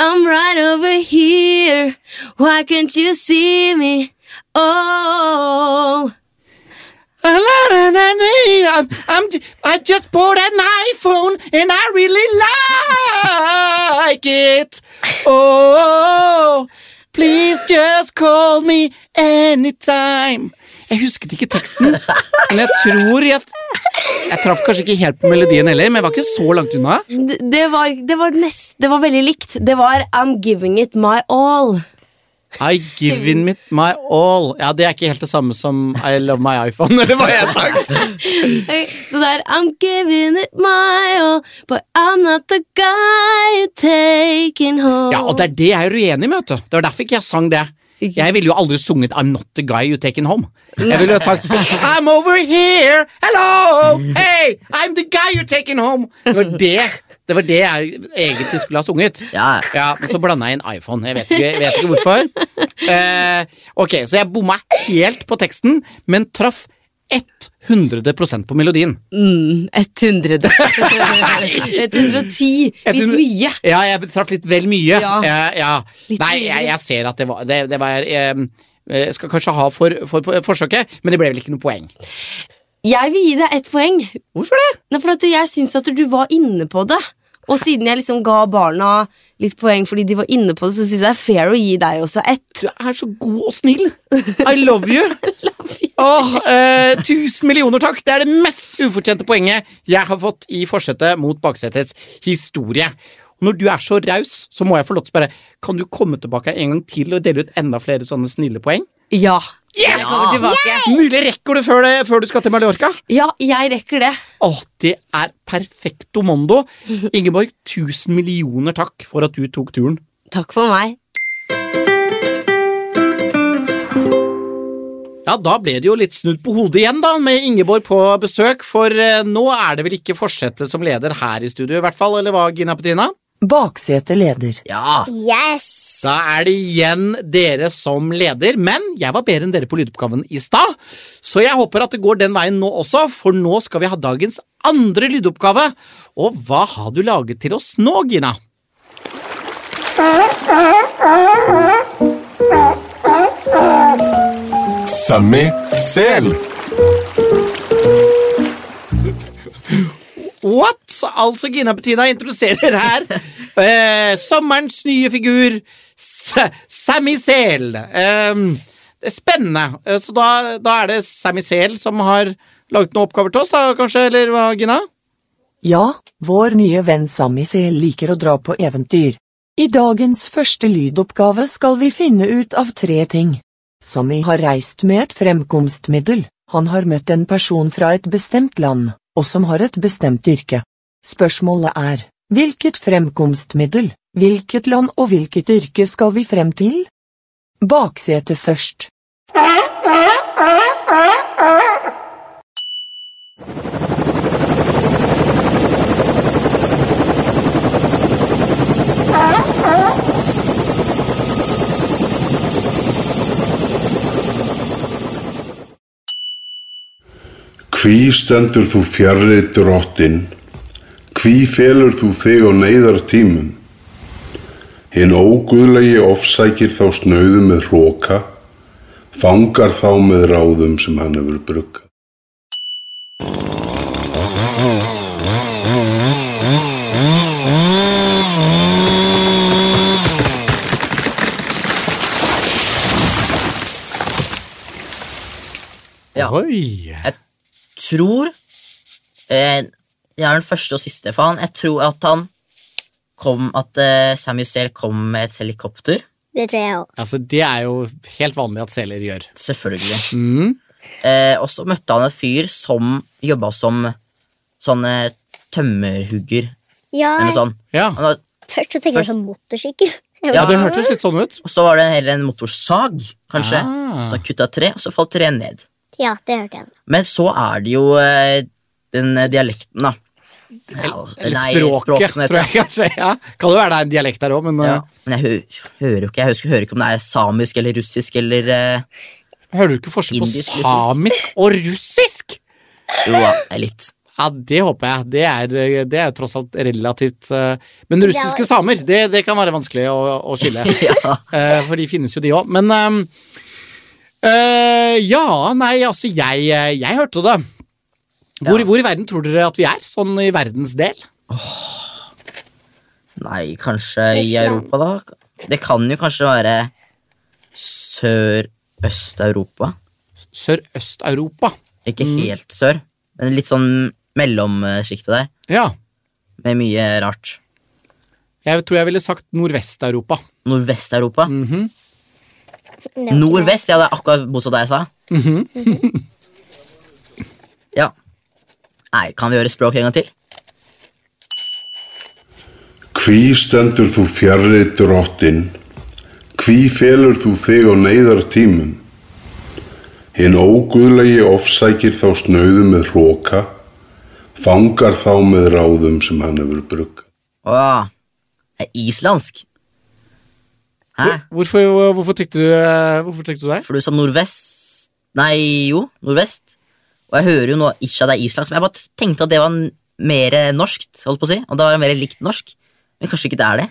[SPEAKER 5] I'm right over here. Why can't you see me? Oh.
[SPEAKER 1] I'm, I'm, I just bought an iPhone and I really like it. Oh, please just call me anytime. Jeg husket ikke teksten, men jeg tror jeg Jeg traff kanskje ikke helt på melodien heller, men jeg var ikke så langt unna.
[SPEAKER 5] D- Det var, det var, nest, det var veldig likt. Det var I'm giving it my all.
[SPEAKER 1] I given it my all. Ja, det er ikke helt det samme som I love my iPhone, eller hva jeg sa.
[SPEAKER 5] Hey, Så det er I'm giving it my all, but I'm not the guy you're taking home.
[SPEAKER 1] Ja, og det er det jeg er uenig med, vet du. Det var derfor ikke jeg sang det. Jeg ville jo aldri sunget I'm not the guy you taken home. Jeg ville jo tatt I'm over here, hello, hey, I'm the guy you taken home. Det var det, det, var det jeg egentlig skulle ha sunget.
[SPEAKER 3] Ja.
[SPEAKER 1] Ja, men så blanda jeg inn iPhone. Jeg vet ikke, jeg vet ikke hvorfor. Eh, ok, så jeg bomma helt på teksten, men traff 100 på melodien.
[SPEAKER 5] Mm, 100. 110. Litt
[SPEAKER 1] 100.
[SPEAKER 5] mye.
[SPEAKER 1] Ja, jeg traff litt vel mye. Ja.
[SPEAKER 5] Ja.
[SPEAKER 1] ja.
[SPEAKER 5] Litt
[SPEAKER 1] Nei,
[SPEAKER 5] mye.
[SPEAKER 1] jeg, jeg ser at det var Det, det var eh, jeg skal kanskje ha for, for, for forsøket, men det ble vel ikke noe poeng.
[SPEAKER 5] Jeg vil gi deg ett poeng.
[SPEAKER 1] Hvorfor det?
[SPEAKER 5] Nei, for at jeg syns at du var inne på det. Og siden jeg liksom ga barna litt poeng fordi de var inne på det, så syns jeg det er fair å gi deg også ett.
[SPEAKER 1] Du er så god og snill. I love you. Åh, eh, tusen millioner takk! Det er det mest ufortjente poenget jeg har fått i forsetet mot baksetets historie. Og når du er så raus, så må jeg få lov til å spørre Kan du komme tilbake en gang til og dele ut enda flere sånne snille poeng?
[SPEAKER 5] Ja.
[SPEAKER 1] Yes!
[SPEAKER 5] Jeg kommer tilbake.
[SPEAKER 1] Mulig rekker du før, det, før du skal til Mallorca?
[SPEAKER 5] Ja, jeg rekker det.
[SPEAKER 1] Åh, det er perfekto mondo. Ingeborg, tusen millioner takk for at du tok turen.
[SPEAKER 5] Takk for meg.
[SPEAKER 1] Ja, da ble det jo litt snudd på hodet igjen, da, med Ingeborg på besøk, for eh, nå er det vel ikke Forsetet som leder her i studio, i hvert fall, eller hva, Gina Petrina?
[SPEAKER 4] Baksete leder.
[SPEAKER 3] Ja,
[SPEAKER 2] Yes!
[SPEAKER 1] Da er det igjen dere som leder, men jeg var bedre enn dere på lydoppgaven i stad, så jeg håper at det går den veien nå også, for nå skal vi ha dagens andre lydoppgave. Og hva har du laget til oss nå, Gina?
[SPEAKER 6] Sammy sel.
[SPEAKER 1] What? Altså, Gina Bettina introduserer her eh, sommerens nye figur, Sa Sammy Sel. Eh, det er spennende. Eh, så da, da er det Sammy Sel som har laget noen oppgaver til oss, da, kanskje? Eller hva, Gina?
[SPEAKER 4] Ja, vår nye venn Sami Sel liker å dra på eventyr. I dagens første lydoppgave skal vi finne ut av tre ting. Sami har reist med et fremkomstmiddel, han har møtt en person fra et bestemt land, og som har et bestemt yrke. Spørsmålet er, hvilket fremkomstmiddel, hvilket land og hvilket yrke skal vi frem til? Baksete først.
[SPEAKER 7] Hví stendur þú fjarrri drottin? Hví felur þú þig á neyðartímum? Hinn óguðlegi ofsækir þá snauðu með hróka, fangar þá með ráðum sem hann hefur bruggað.
[SPEAKER 3] Ja.
[SPEAKER 6] Oi.
[SPEAKER 3] Tror eh, Jeg er den første og siste for han. Jeg tror at han kom At eh, Samuel Sel kom med et helikopter.
[SPEAKER 2] Det tror jeg òg.
[SPEAKER 1] Ja, for det er jo helt vanlig at seler gjør.
[SPEAKER 3] Selvfølgelig.
[SPEAKER 1] Mm.
[SPEAKER 3] Eh, og så møtte han en fyr som jobba som sånn eh, tømmerhugger
[SPEAKER 2] Ja,
[SPEAKER 3] eller noe sånt.
[SPEAKER 1] Ja.
[SPEAKER 3] Han var,
[SPEAKER 2] først så tenker jeg sånn motorsykkel. Jeg
[SPEAKER 1] sånn? ja,
[SPEAKER 2] bare,
[SPEAKER 1] det hørtes litt sånn ut.
[SPEAKER 3] og så var det heller en motorsag, kanskje,
[SPEAKER 1] Ah.
[SPEAKER 3] som kutta tre, og så falt treet ned.
[SPEAKER 2] ja, det hørte jeg.
[SPEAKER 3] Men så er det jo eh, den eh, dialekten, da.
[SPEAKER 1] Eller språket, tror jeg kanskje. Ja. Kan jo være det er en dialekt der òg, men
[SPEAKER 3] Ja,
[SPEAKER 1] eh,
[SPEAKER 3] men jeg hø hører jo ikke Jeg husker, hører ikke om det er samisk eller russisk eller eh,
[SPEAKER 1] hører du ikke forskjell på
[SPEAKER 3] Indisk, russisk.
[SPEAKER 1] samisk og russisk?
[SPEAKER 3] Jo da, det er litt.
[SPEAKER 1] Ja, det håper jeg. Det er, eh, det er jo tross alt relativt eh, Men russiske samer, det, det kan være vanskelig å, å skille.
[SPEAKER 3] Ja.
[SPEAKER 1] Eh, for de finnes jo, de òg. Men ehm, eh, Ja, nei, altså, jeg, eh, jeg hørte det. Hvor, hvor i verden tror dere at vi er, sånn i verdens del?
[SPEAKER 3] Nei, kanskje i
[SPEAKER 2] Tyskland.
[SPEAKER 3] Europa, da? Det kan jo kanskje være sør-øst-Europa.
[SPEAKER 1] Sørøst-Europa.
[SPEAKER 3] Ikke
[SPEAKER 1] Mm.
[SPEAKER 3] helt sør, men litt sånn mellomsjiktet der,
[SPEAKER 1] Ja.
[SPEAKER 3] med mye rart.
[SPEAKER 1] Jeg tror jeg ville sagt Nordvest-Europa.
[SPEAKER 3] Nordvest-Europa.
[SPEAKER 2] Det var
[SPEAKER 3] Nordvest, ja, det er akkurat motsatt det jeg sa. Mhm. ja. Nei, kan vi gjøre språk en gang til?
[SPEAKER 7] Hví stendur þú fjarrri drottin? Hví felur þú þig á neyðartímum? Hinn óguðlegi ofsækir þá snauðu með hróka, fangar þá með ráðum sem hann hefur bruggað.
[SPEAKER 3] Åh, det er islandsk. Hæ?
[SPEAKER 1] Hvorfor, hvorfor, tenkte du, eh, hvorfor tenkte du det?
[SPEAKER 3] For du sa nordvest Nei, jo, nordvest. Og jeg hører jo nå ikke at det er islandsk, men jeg bare tenkte at det var n- mer eh, norskt, holdt på å si. Og det var mer likt norsk. Men kanskje ikke det er det.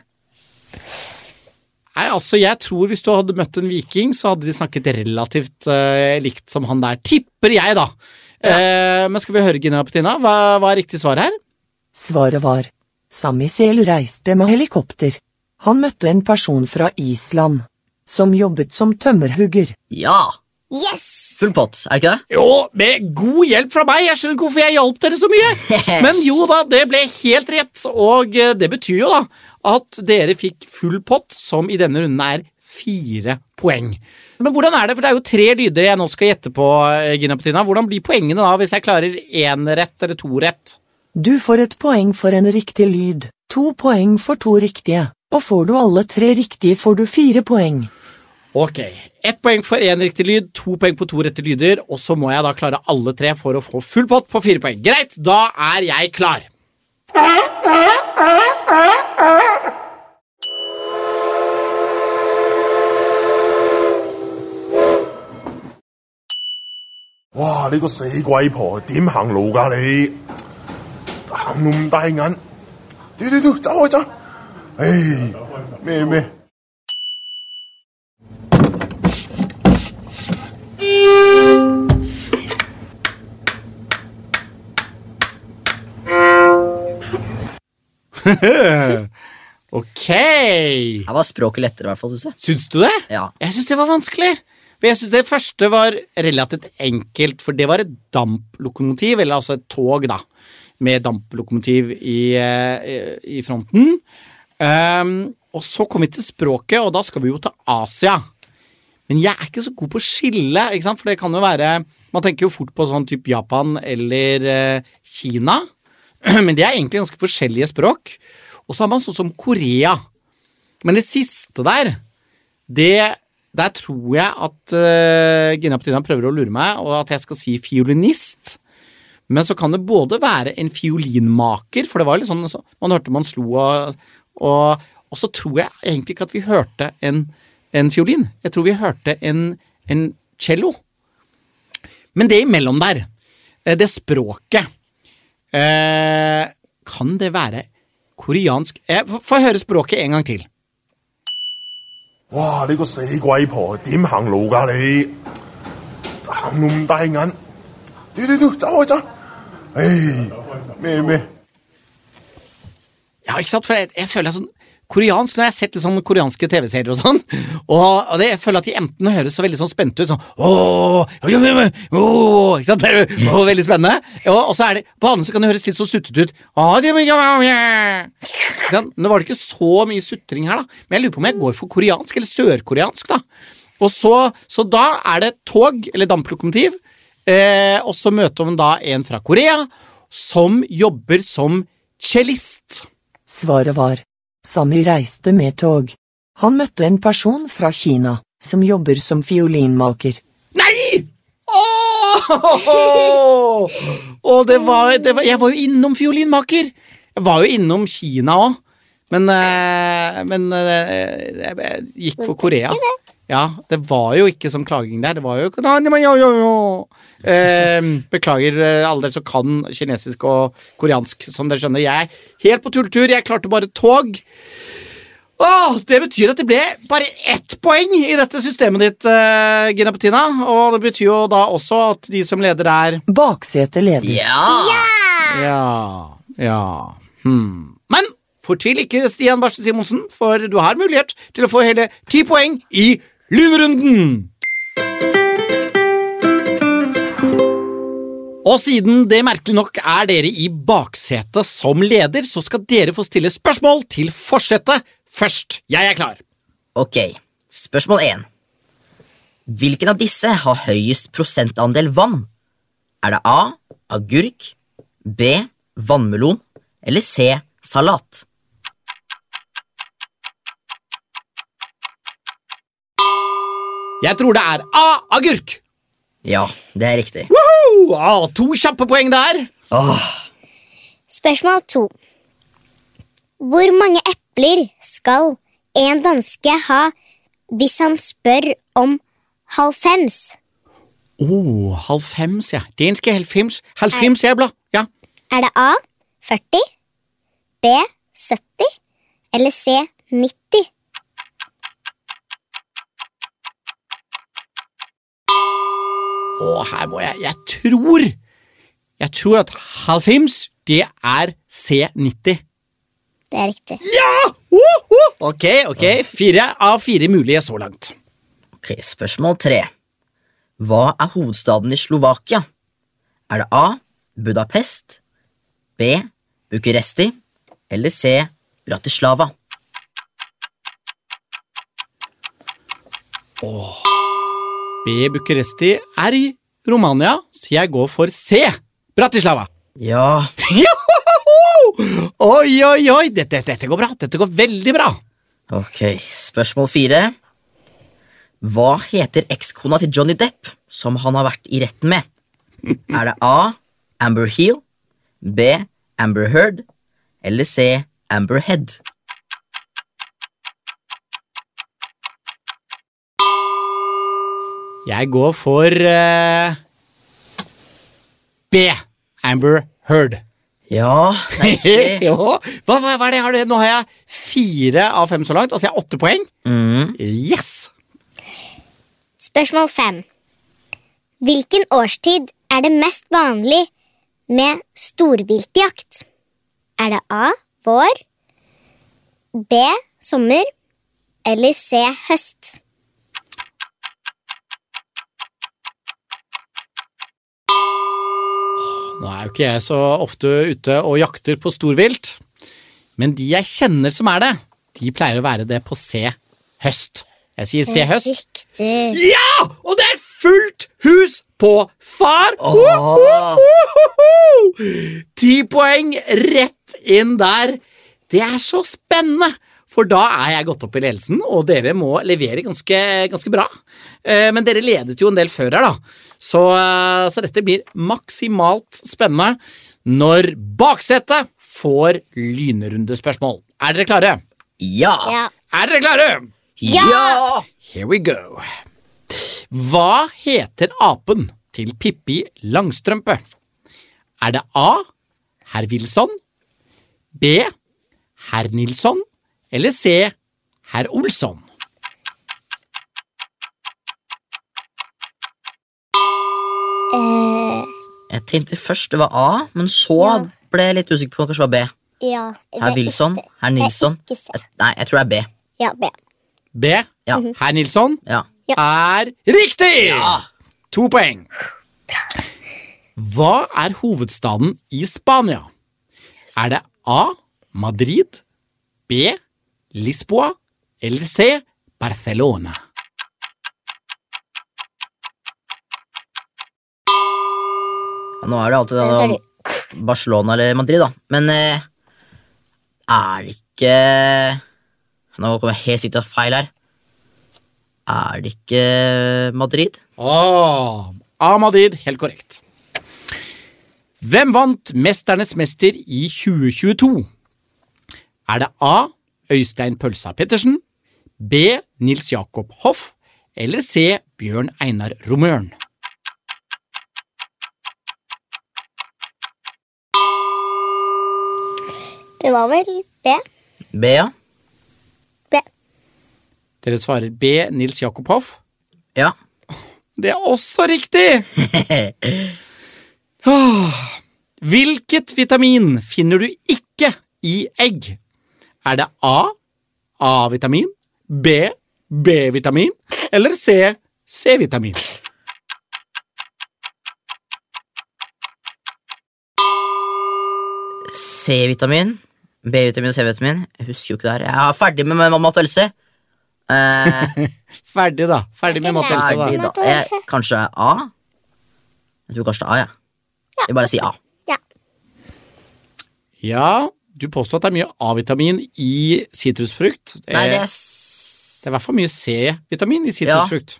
[SPEAKER 1] Nei, altså, jeg tror Hvis du hadde møtt en viking, så hadde de snakket relativt eh, likt som han der. Tipper jeg, da. Eh, men skal vi høre, Gina Petina, hva, hva er riktig svar her?
[SPEAKER 4] Svaret var Sami Sel reiste med helikopter. Han møtte en person fra Island som jobbet som tømmerhugger.
[SPEAKER 3] Ja!
[SPEAKER 2] Yes!
[SPEAKER 3] Full pott, er det ikke det?
[SPEAKER 1] Jo, med god hjelp fra meg! Jeg skjønner ikke hvorfor jeg hjalp dere så mye! Men jo da, det ble helt rett, og eh, det betyr jo da at dere fikk full pott, som i denne runden er fire poeng. Men hvordan er det, for det er jo tre lyder jeg nå skal gjette på, eh, Gina Petina. Hvordan blir poengene da, hvis jeg klarer én rett eller to rett?
[SPEAKER 4] Du får et poeng for en riktig lyd, to poeng for to riktige, og får du alle tre riktige får du fire poeng.
[SPEAKER 1] Ok, ett poeng for én riktig lyd, to poeng på to rette lyder, og så må jeg da klare alle tre for å få full pott på fire poeng. Greit, da er jeg klar.
[SPEAKER 8] 哇！你個死鬼婆點行路㗎你？行路咁大眼，屌屌屌，走開走！唉，咩咩？
[SPEAKER 1] Ok.
[SPEAKER 3] Her var språket lettere, i hvert fall, syns jeg.
[SPEAKER 1] Syns du det?
[SPEAKER 3] Ja.
[SPEAKER 1] Jeg syns det var vanskelig. For jeg syns det første var relativt enkelt, for det var et damplokomotiv, eller altså et tog, da, med damplokomotiv i, eh, i fronten. Ehm, og så kom vi til språket, og da skal vi jo til Asia. Men jeg er ikke så god på å skille, ikke sant? for det kan jo være Man tenker jo fort på sånn type Japan eller eh, Kina, men det er egentlig ganske forskjellige språk. Og så har man sånn som Korea. Men det siste der, det, der tror jeg at eh, Gina Petina prøver å lure meg, og at jeg skal si fiolinist. Men så kan det både være en fiolinmaker, for det var litt sånn så, man hørte man slo og, og Og så tror jeg egentlig ikke at vi hørte en, en fiolin. Jeg tror vi hørte en, en cello. Men det imellom der eh, det språket eh, Kan det være koreansk eh, Få få høre språket en gang til.
[SPEAKER 8] 와, 이거 세 과이퍼 님 항로가리. 놈 다행한. 뒤뒤뒤 짜와자. 에이, 매매.
[SPEAKER 1] Ja, ikke sant? For jeg, jeg føler at sånn Koreansk, Nå har jeg sett litt sånn koreanske TV-serier og sånn, og, og det, jeg føler at de enten høres så veldig sånn spente ut, sånn åh, ja, ja, ja, åh, ikke sant? Det er jo- åh, Veldig spennende. Og, og så er det, på andre så kan det høres litt så suttete ut. Åh, det- ja, ja, ja. Ikke sant? Nå var det ikke så mye sutring her, da, men jeg lurer på om jeg går for koreansk, eller sørkoreansk, da. Og så, så da er det tog, eller damplokomotiv, eh, og så møter man da en fra Korea som jobber som cellist.
[SPEAKER 4] Svaret var. Sami reiste med tog. Han møtte en person fra Kina, som jobber som fiolinmaker.
[SPEAKER 1] Nei! Ååå! Og det var, det var Jeg var jo innom fiolinmaker. Jeg var jo innom Kina òg. Men, eh, men eh, jeg, jeg gikk for Korea. Ja, det var jo ikke sånn klaging der. Det var jo Eh, Beklager eh, alle dere som kan kinesisk og koreansk, som dere skjønner. Jeg er helt på tulltur. Jeg klarte bare tog. Åh, det betyr at det ble bare ett poeng i dette systemet ditt, uh, Gina Petina. Og det betyr jo da også at de som leder er
[SPEAKER 4] Baksetet leder.
[SPEAKER 3] Ja!
[SPEAKER 1] Ja, ja, hmm. Men fortvil ikke, Stian Barste Simonsen, for du har mulighet til å få hele ti poeng i lynrunden. Og siden det merkelig nok er dere i baksetet som leder, så skal dere få stille spørsmål til forsetet først. Jeg er klar.
[SPEAKER 3] Ok, spørsmål 1. Hvilken av disse har høyest prosentandel vann? Er det A. Agurk B. Vannmelon Eller C. Salat?
[SPEAKER 1] Jeg tror det er A. Agurk.
[SPEAKER 3] Ja, det er riktig.
[SPEAKER 1] Woohoo! Ah, to kjappe poeng der.
[SPEAKER 3] Åh,
[SPEAKER 2] Spørsmål to. Hvor mange epler skal en danske ha hvis han spør om halvfems?
[SPEAKER 1] Oh, halvfems, ja. Danske halvfems. Halvfems ebler. Ja.
[SPEAKER 2] Er det A 40, B 70 eller C 90?
[SPEAKER 1] Og her må jeg Jeg tror Jeg tror at halvfems, det er C90.
[SPEAKER 2] Det er riktig.
[SPEAKER 1] Woohoo! Ok, ok. Fire av fire mulige så langt.
[SPEAKER 3] ok, Spørsmål 3. Hva er hovedstaden i Slovakia? Er det A. Budapest B. Bucuresti Eller C. Bratislava?
[SPEAKER 1] B. Bucuresti er i Romania, så jeg går for C. Bratislava.
[SPEAKER 3] Ja,
[SPEAKER 1] Johoho! Oi, oi, oi. Dette, dette går bra. Dette går veldig bra.
[SPEAKER 3] Ok, spørsmål fire. Hva heter ekskona til Johnny Depp, som han har vært i retten med? Er det A. Amber Heel, B. Amber Heard, eller C. Amber Head?
[SPEAKER 1] Jeg går for eh, B. Amber Heard.
[SPEAKER 3] Ja, det er riktig.
[SPEAKER 1] Ja, hva, hva, hva er det jeg har det? Nå har jeg fire av fem så langt, altså jeg har åtte poeng.
[SPEAKER 3] Mm.
[SPEAKER 1] Yes!
[SPEAKER 2] Spørsmål fem. Hvilken årstid er det mest vanlig med storviltjakt? Er det A vår, B sommer eller C høst?
[SPEAKER 1] Nå er jo ikke jeg så ofte ute og jakter på storvilt, men de jeg kjenner som er det, de pleier å være det på C høst. Jeg sier C høst.
[SPEAKER 2] Riktig.
[SPEAKER 1] Ja! Og det er fullt hus på far!
[SPEAKER 3] Åh.
[SPEAKER 1] Ho-ho-ho-ho-ho! Ti poeng rett inn der. Det er så spennende! For da er jeg gått opp i ledelsen, og dere må levere ganske, ganske bra. Eh, Men dere ledet jo en del før her, da. Så, eh, så dette blir maksimalt spennende når baksetet får lynrundespørsmål. Er dere klare?
[SPEAKER 3] Ja!
[SPEAKER 2] Ja.
[SPEAKER 1] Er dere klare?
[SPEAKER 3] Ja!
[SPEAKER 1] Here we go. Hva heter apen til Pippi Langstrømpe? Er det A. Herr Wilson? B. Herr Nilsson? Eller C. Herr Olsson?
[SPEAKER 2] Eh,
[SPEAKER 3] Jeg tenkte først det var A, men så ble jeg litt usikker på om det kanskje var B.
[SPEAKER 2] ja.
[SPEAKER 3] Herr Wilson, herr Nilsson.
[SPEAKER 2] Det er ikke C.
[SPEAKER 3] Jeg- Nei, jeg tror det er B.
[SPEAKER 2] Ja, B.
[SPEAKER 1] B.
[SPEAKER 3] Ja.
[SPEAKER 1] Herr Nilsson
[SPEAKER 3] Ja.
[SPEAKER 1] er riktig! To poeng. Hva er hovedstaden i Spania? Er det A. Madrid, B. Lisboa eller C. Barcelona?
[SPEAKER 3] Nå er det alltid da,
[SPEAKER 2] Den tar du.
[SPEAKER 3] Barcelona eller Madrid, da. Men eh, er det ikke Nå kommer jeg helt sikkert til å ta feil her. Er det ikke Madrid?
[SPEAKER 1] Åh, A. Madrid, Ah, helt korrekt. Hvem vant Mesternes mester i 2022? Er det A. Øystein Pølsa Pettersen, B. Nils Jakob Hoff eller C. Bjørn Einar Romøren?
[SPEAKER 2] Det var vel B.
[SPEAKER 3] B, ja.
[SPEAKER 2] B.
[SPEAKER 1] Dere svarer B. Nils Jakob Hoff.
[SPEAKER 3] Ja.
[SPEAKER 1] Det er også riktig! Åh. Hvilket vitamin finner du ikke i egg? Er det A. A-vitamin, B. B-vitamin eller C. C-vitamin?
[SPEAKER 3] C-vitamin. B-vitamin og C-vitamin. Jeg husker jo ikke det her. Jeg er ferdig med med mat og helse. Eh,
[SPEAKER 1] Ferdig, da. Ferdig med mathelse.
[SPEAKER 3] ferdig,
[SPEAKER 1] da.
[SPEAKER 3] da. Jeg, kanskje A? Jeg tror kanskje det er A, jeg. Ja. Jeg bare sier A.
[SPEAKER 2] Ja.
[SPEAKER 1] Ja, du påstår at det er mye A-vitamin i sitrusfrukt.
[SPEAKER 3] Nei,
[SPEAKER 1] Eh,
[SPEAKER 3] det er s-
[SPEAKER 1] Det er i hvert fall mye C-vitamin i sitrusfrukt.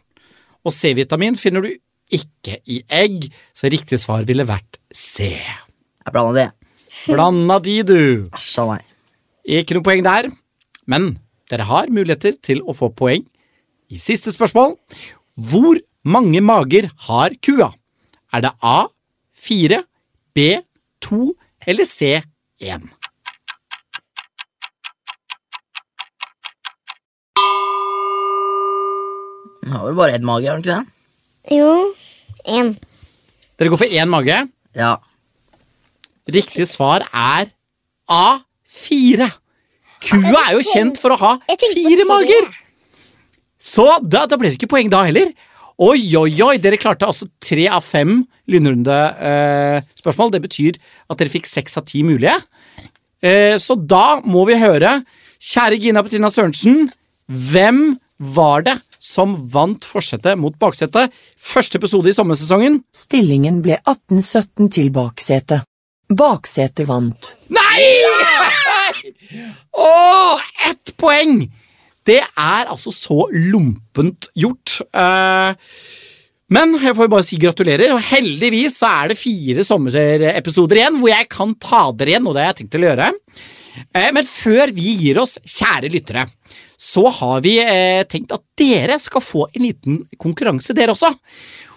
[SPEAKER 1] Og C-vitamin finner du ikke i egg, så riktig svar ville vært C.
[SPEAKER 3] Jeg blanda det.
[SPEAKER 1] Blanda de, du.
[SPEAKER 3] Æsj a meg.
[SPEAKER 1] Ikke noe poeng der. Men dere har muligheter til å få poeng i siste spørsmål. Hvor mange mager har kua? Er det A 4, B 2 eller C 1?
[SPEAKER 3] Hun har vel bare ett mage, har hun ikke det?
[SPEAKER 2] Jo. En.
[SPEAKER 1] Dere går for én mage.
[SPEAKER 3] Ja.
[SPEAKER 1] Riktig svar er A4. Kua er jo kjent for å ha
[SPEAKER 2] Jeg tenkte på
[SPEAKER 1] fire
[SPEAKER 2] tre.
[SPEAKER 1] mager! Så da, da ble det ikke poeng da heller. Oi, oi, oi, dere klarte altså tre av fem lynrundespørsmål. det betyr at dere fikk seks av ti mulige. Eh, så da må vi høre, kjære Gina Petrina Sørensen, hvem var det som vant forsetet mot baksetet? Første episode i sommersesongen.
[SPEAKER 4] Stillingen ble 18-17 til Baksete. Baksete vant.
[SPEAKER 1] Nei! Åh, ett poeng! Det er altså så lompent gjort. Eh, men jeg får jo bare si gratulerer, og heldigvis så er det fire sommerepisoder igjen hvor jeg kan ta dere igjen, og det har jeg tenkt til å gjøre. Eh, Men før vi gir oss, kjære lyttere, så har vi eh, tenkt at dere skal få en liten konkurranse, dere også.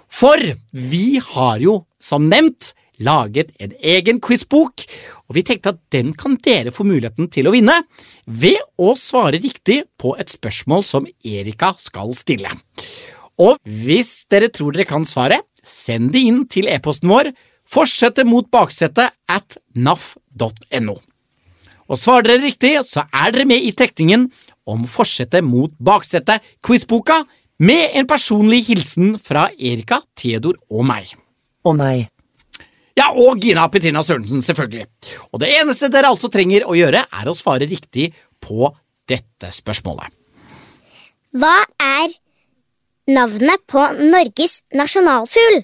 [SPEAKER 1] For vi har jo, som nevnt, laget en egen quizbok, og vi tenkte at den kan dere få muligheten til å vinne ved å svare riktig på et spørsmål som Erika skal stille. Og hvis dere tror dere kan svaret, send det inn til e-posten vår fortsette mot baksetet at naf.no. Og svarer dere riktig, så er dere med i trekningen om forsetet mot baksetet, quizboka, med en personlig hilsen fra Erika, Theodor og meg.
[SPEAKER 4] Og meg.
[SPEAKER 1] Ja, og Gina Petrina Sørensen, selvfølgelig. Og det eneste dere altså trenger å gjøre, er å svare riktig på dette spørsmålet.
[SPEAKER 2] Hva er navnet på Norges nasjonalfugl?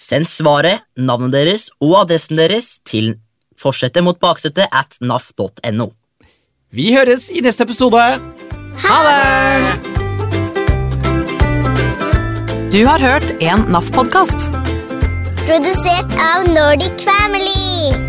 [SPEAKER 3] Send svaret, navnet deres og adressen deres til forsetet mot baksetet at naf.no.
[SPEAKER 1] Vi høres i neste episode. Ha det!
[SPEAKER 9] Du har hørt en NAF-podkast.
[SPEAKER 2] Produsert av Nordic Family.